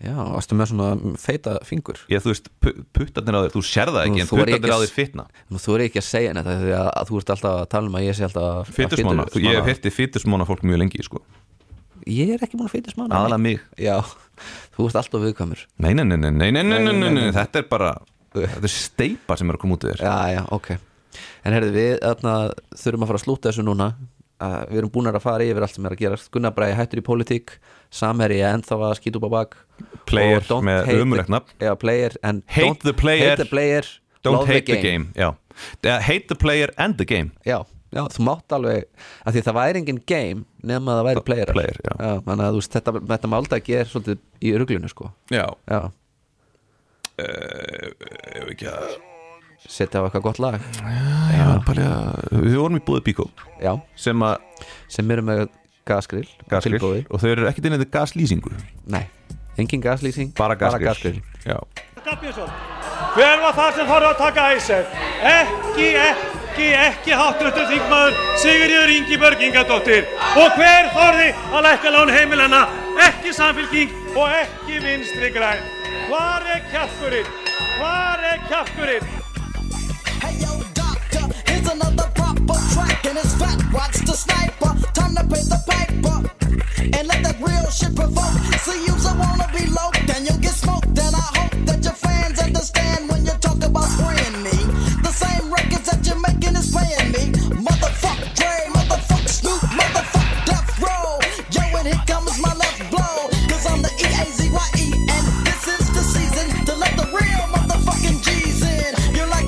[SPEAKER 5] já, varstu með svona feita fingur
[SPEAKER 4] ég þú veist, pu- puttarnir á þér, þú sér það
[SPEAKER 5] Nú,
[SPEAKER 4] ekki en
[SPEAKER 5] þú er ekki
[SPEAKER 4] puttarnir
[SPEAKER 5] að
[SPEAKER 4] á
[SPEAKER 5] s-
[SPEAKER 4] þér fitna
[SPEAKER 5] Nú þú er ekki að segja þetta því að, að þú ert alltaf að tala um að ég sé alltaf að- að
[SPEAKER 4] Fytusmána,
[SPEAKER 5] fitusmána.
[SPEAKER 4] ég hef hirti fytusmána fólk mjög lengi sko.
[SPEAKER 5] Ég er ekki múin að fytusmána
[SPEAKER 4] aðalega mig
[SPEAKER 5] Já, þú ert alltaf viðkvæmur
[SPEAKER 4] nei nei nei, nei, nei, nei, nei, nei, nei, nei,
[SPEAKER 5] nei.
[SPEAKER 4] þetta er bara þetta er steipa sem er að koma út í þér
[SPEAKER 5] Já, já, ok En herðu, við þarna, þurfum að fara að slúta þessu núna uh, Við erum búin að fara yfir allt sem er að gera Gunnar Bræði hættur í pólitík Samherji er ennþá að skýta upp á bak
[SPEAKER 4] Player
[SPEAKER 5] Og don't
[SPEAKER 4] með
[SPEAKER 5] hate the-
[SPEAKER 4] ömurlegt nafn.
[SPEAKER 5] Já, player en
[SPEAKER 4] Hate
[SPEAKER 5] don't-
[SPEAKER 4] the player,
[SPEAKER 5] Hate the player
[SPEAKER 4] Don't
[SPEAKER 5] love
[SPEAKER 4] hate the game, já Eða Hate the player and the game
[SPEAKER 5] Já, já, þú mátt alveg að því að það væri engin game nema að það væri player,
[SPEAKER 4] player, já.
[SPEAKER 5] Þannig að þú veist, þetta, þetta máldagi er svolítið í ruglunu sko
[SPEAKER 4] Já Eh,
[SPEAKER 5] Já,
[SPEAKER 4] Ef ekki að
[SPEAKER 5] setja á eitthvað gott lag
[SPEAKER 4] Ég var bara að Við vorum í búið Bíkó
[SPEAKER 5] Já,
[SPEAKER 4] Sem að
[SPEAKER 5] sem eru með gasgrill
[SPEAKER 4] gasgrill
[SPEAKER 5] tilboði.
[SPEAKER 4] Og þau eru ekkert inn í þetta gaslýsingu
[SPEAKER 5] Nei, engin gaslýsing
[SPEAKER 4] Bara gasgrill
[SPEAKER 5] gasgrill
[SPEAKER 4] Já
[SPEAKER 3] Skarpjörnsson Hver var það sem þarf að taka æsef? Ekki, ekki, ekki háttrættur þingmaður Sigurður Ingi Börgingadóttir Og hver þorði að lækka lán heimilanna? Ekki samfélking og ekki vinstri græn Hvar er kjafkurinn? Hvar er kjafkurinn?
[SPEAKER 8] Hey yo, doctor, here's another proper track, and it's fat. Watch the sniper. Time to pay the piper, and let that real shit provoke. See, you so wanna be low, then you'll get smoked. And I hope that your fans understand when you talk about spraying me. The same records that you're making is paying me. Motherfuck Dre, motherfuck Snoop, motherfuck Death Row. Yo, and here comes my left blow, cause I'm the E A Z Y E, and this is the season to let the real motherfucking G's in. You
[SPEAKER 9] E.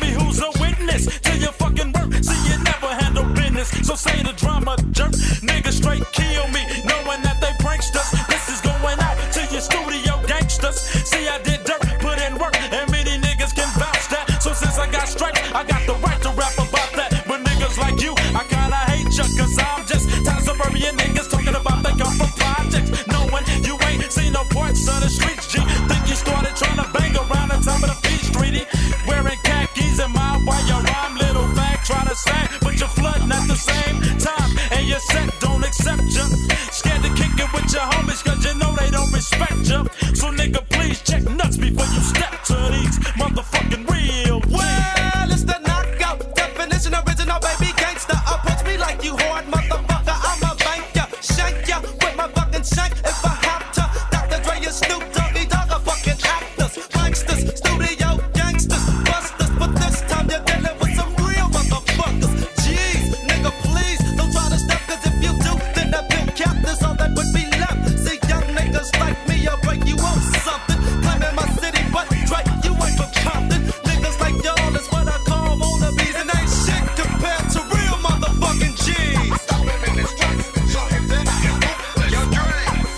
[SPEAKER 9] till you fucking work. See, you never handle business, so say the drama jerk. Niggas straight kill me, knowing that they pranksters. This is going out to your studio gangsters. See, I did dirt, put in work, and many niggas can vouch that. So since I got stripes, I got the right to rap about that. But niggas like you, I kinda hate ya, cause I'm just tired of suburban niggas talking about they come from projects. Knowing you ain't seen no parts of the streets, G. Think you started trying to bang around the top of the beach, treaty. Wearing khakis and my while your rhyme, little fag, try to sag, but you're flooding at the same time. And your set don't accept ya. Scared to kick it with your homies, cause you know they don't respect ya. So nigga, please check nuts before you step to these motherfucking real
[SPEAKER 8] Well, it's the knockout definition original baby gangster. Approach me like you horn motherfucker. I'm a banker, shank ya with my fucking shank if I have to. Dr. Dre and Snoop Doggy Dogg are fucking actors, pranksters, studio gangsters, busters. But this time you're dealing with some real motherfuckers. Jeez, nigga, please don't try to step 'cause if you do, then that pill cap is all that would be left. See young niggas like me, I'll break you off something. Claiming my city, but Dre, you ain't from Compton. Niggas like y'all is what I call Mona Bees, and ain't shit compared to real motherfucking G's.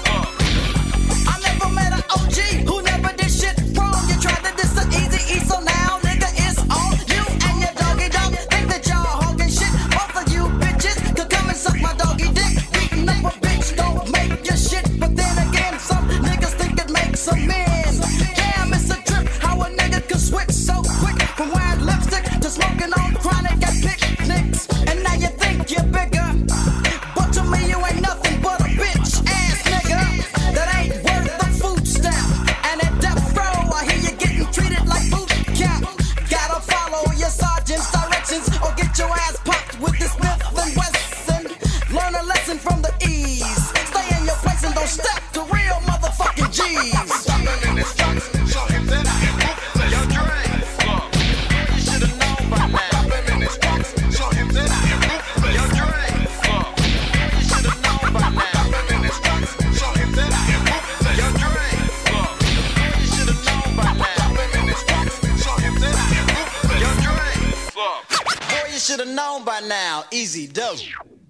[SPEAKER 8] I never met an OG who never did shit wrong. You tried to diss the easy E, so now nigga it's on you and your doggy dog. Think that y'all hogging shit. Both of you bitches could come and suck my doggy dick. Beating up a bitch don't make your shit, but then again, some niggas think it makes a man. Damn, it's a trip how a nigga can switch so quick from wearing lipstick to smoking on chronic at picnics. And now you think you're bigger, but to me you ain't nothing but a bitch ass nigga that ain't worth the food stamp. And at death row, I hear you getting treated like boot camp. Gotta follow your sergeant's directions or get your ass popped with this Smith and Wesson. Learn a lesson from the ease. Stay in your place and don't step to real motherfucking G's. Boy, you Should have known by now, easy dope.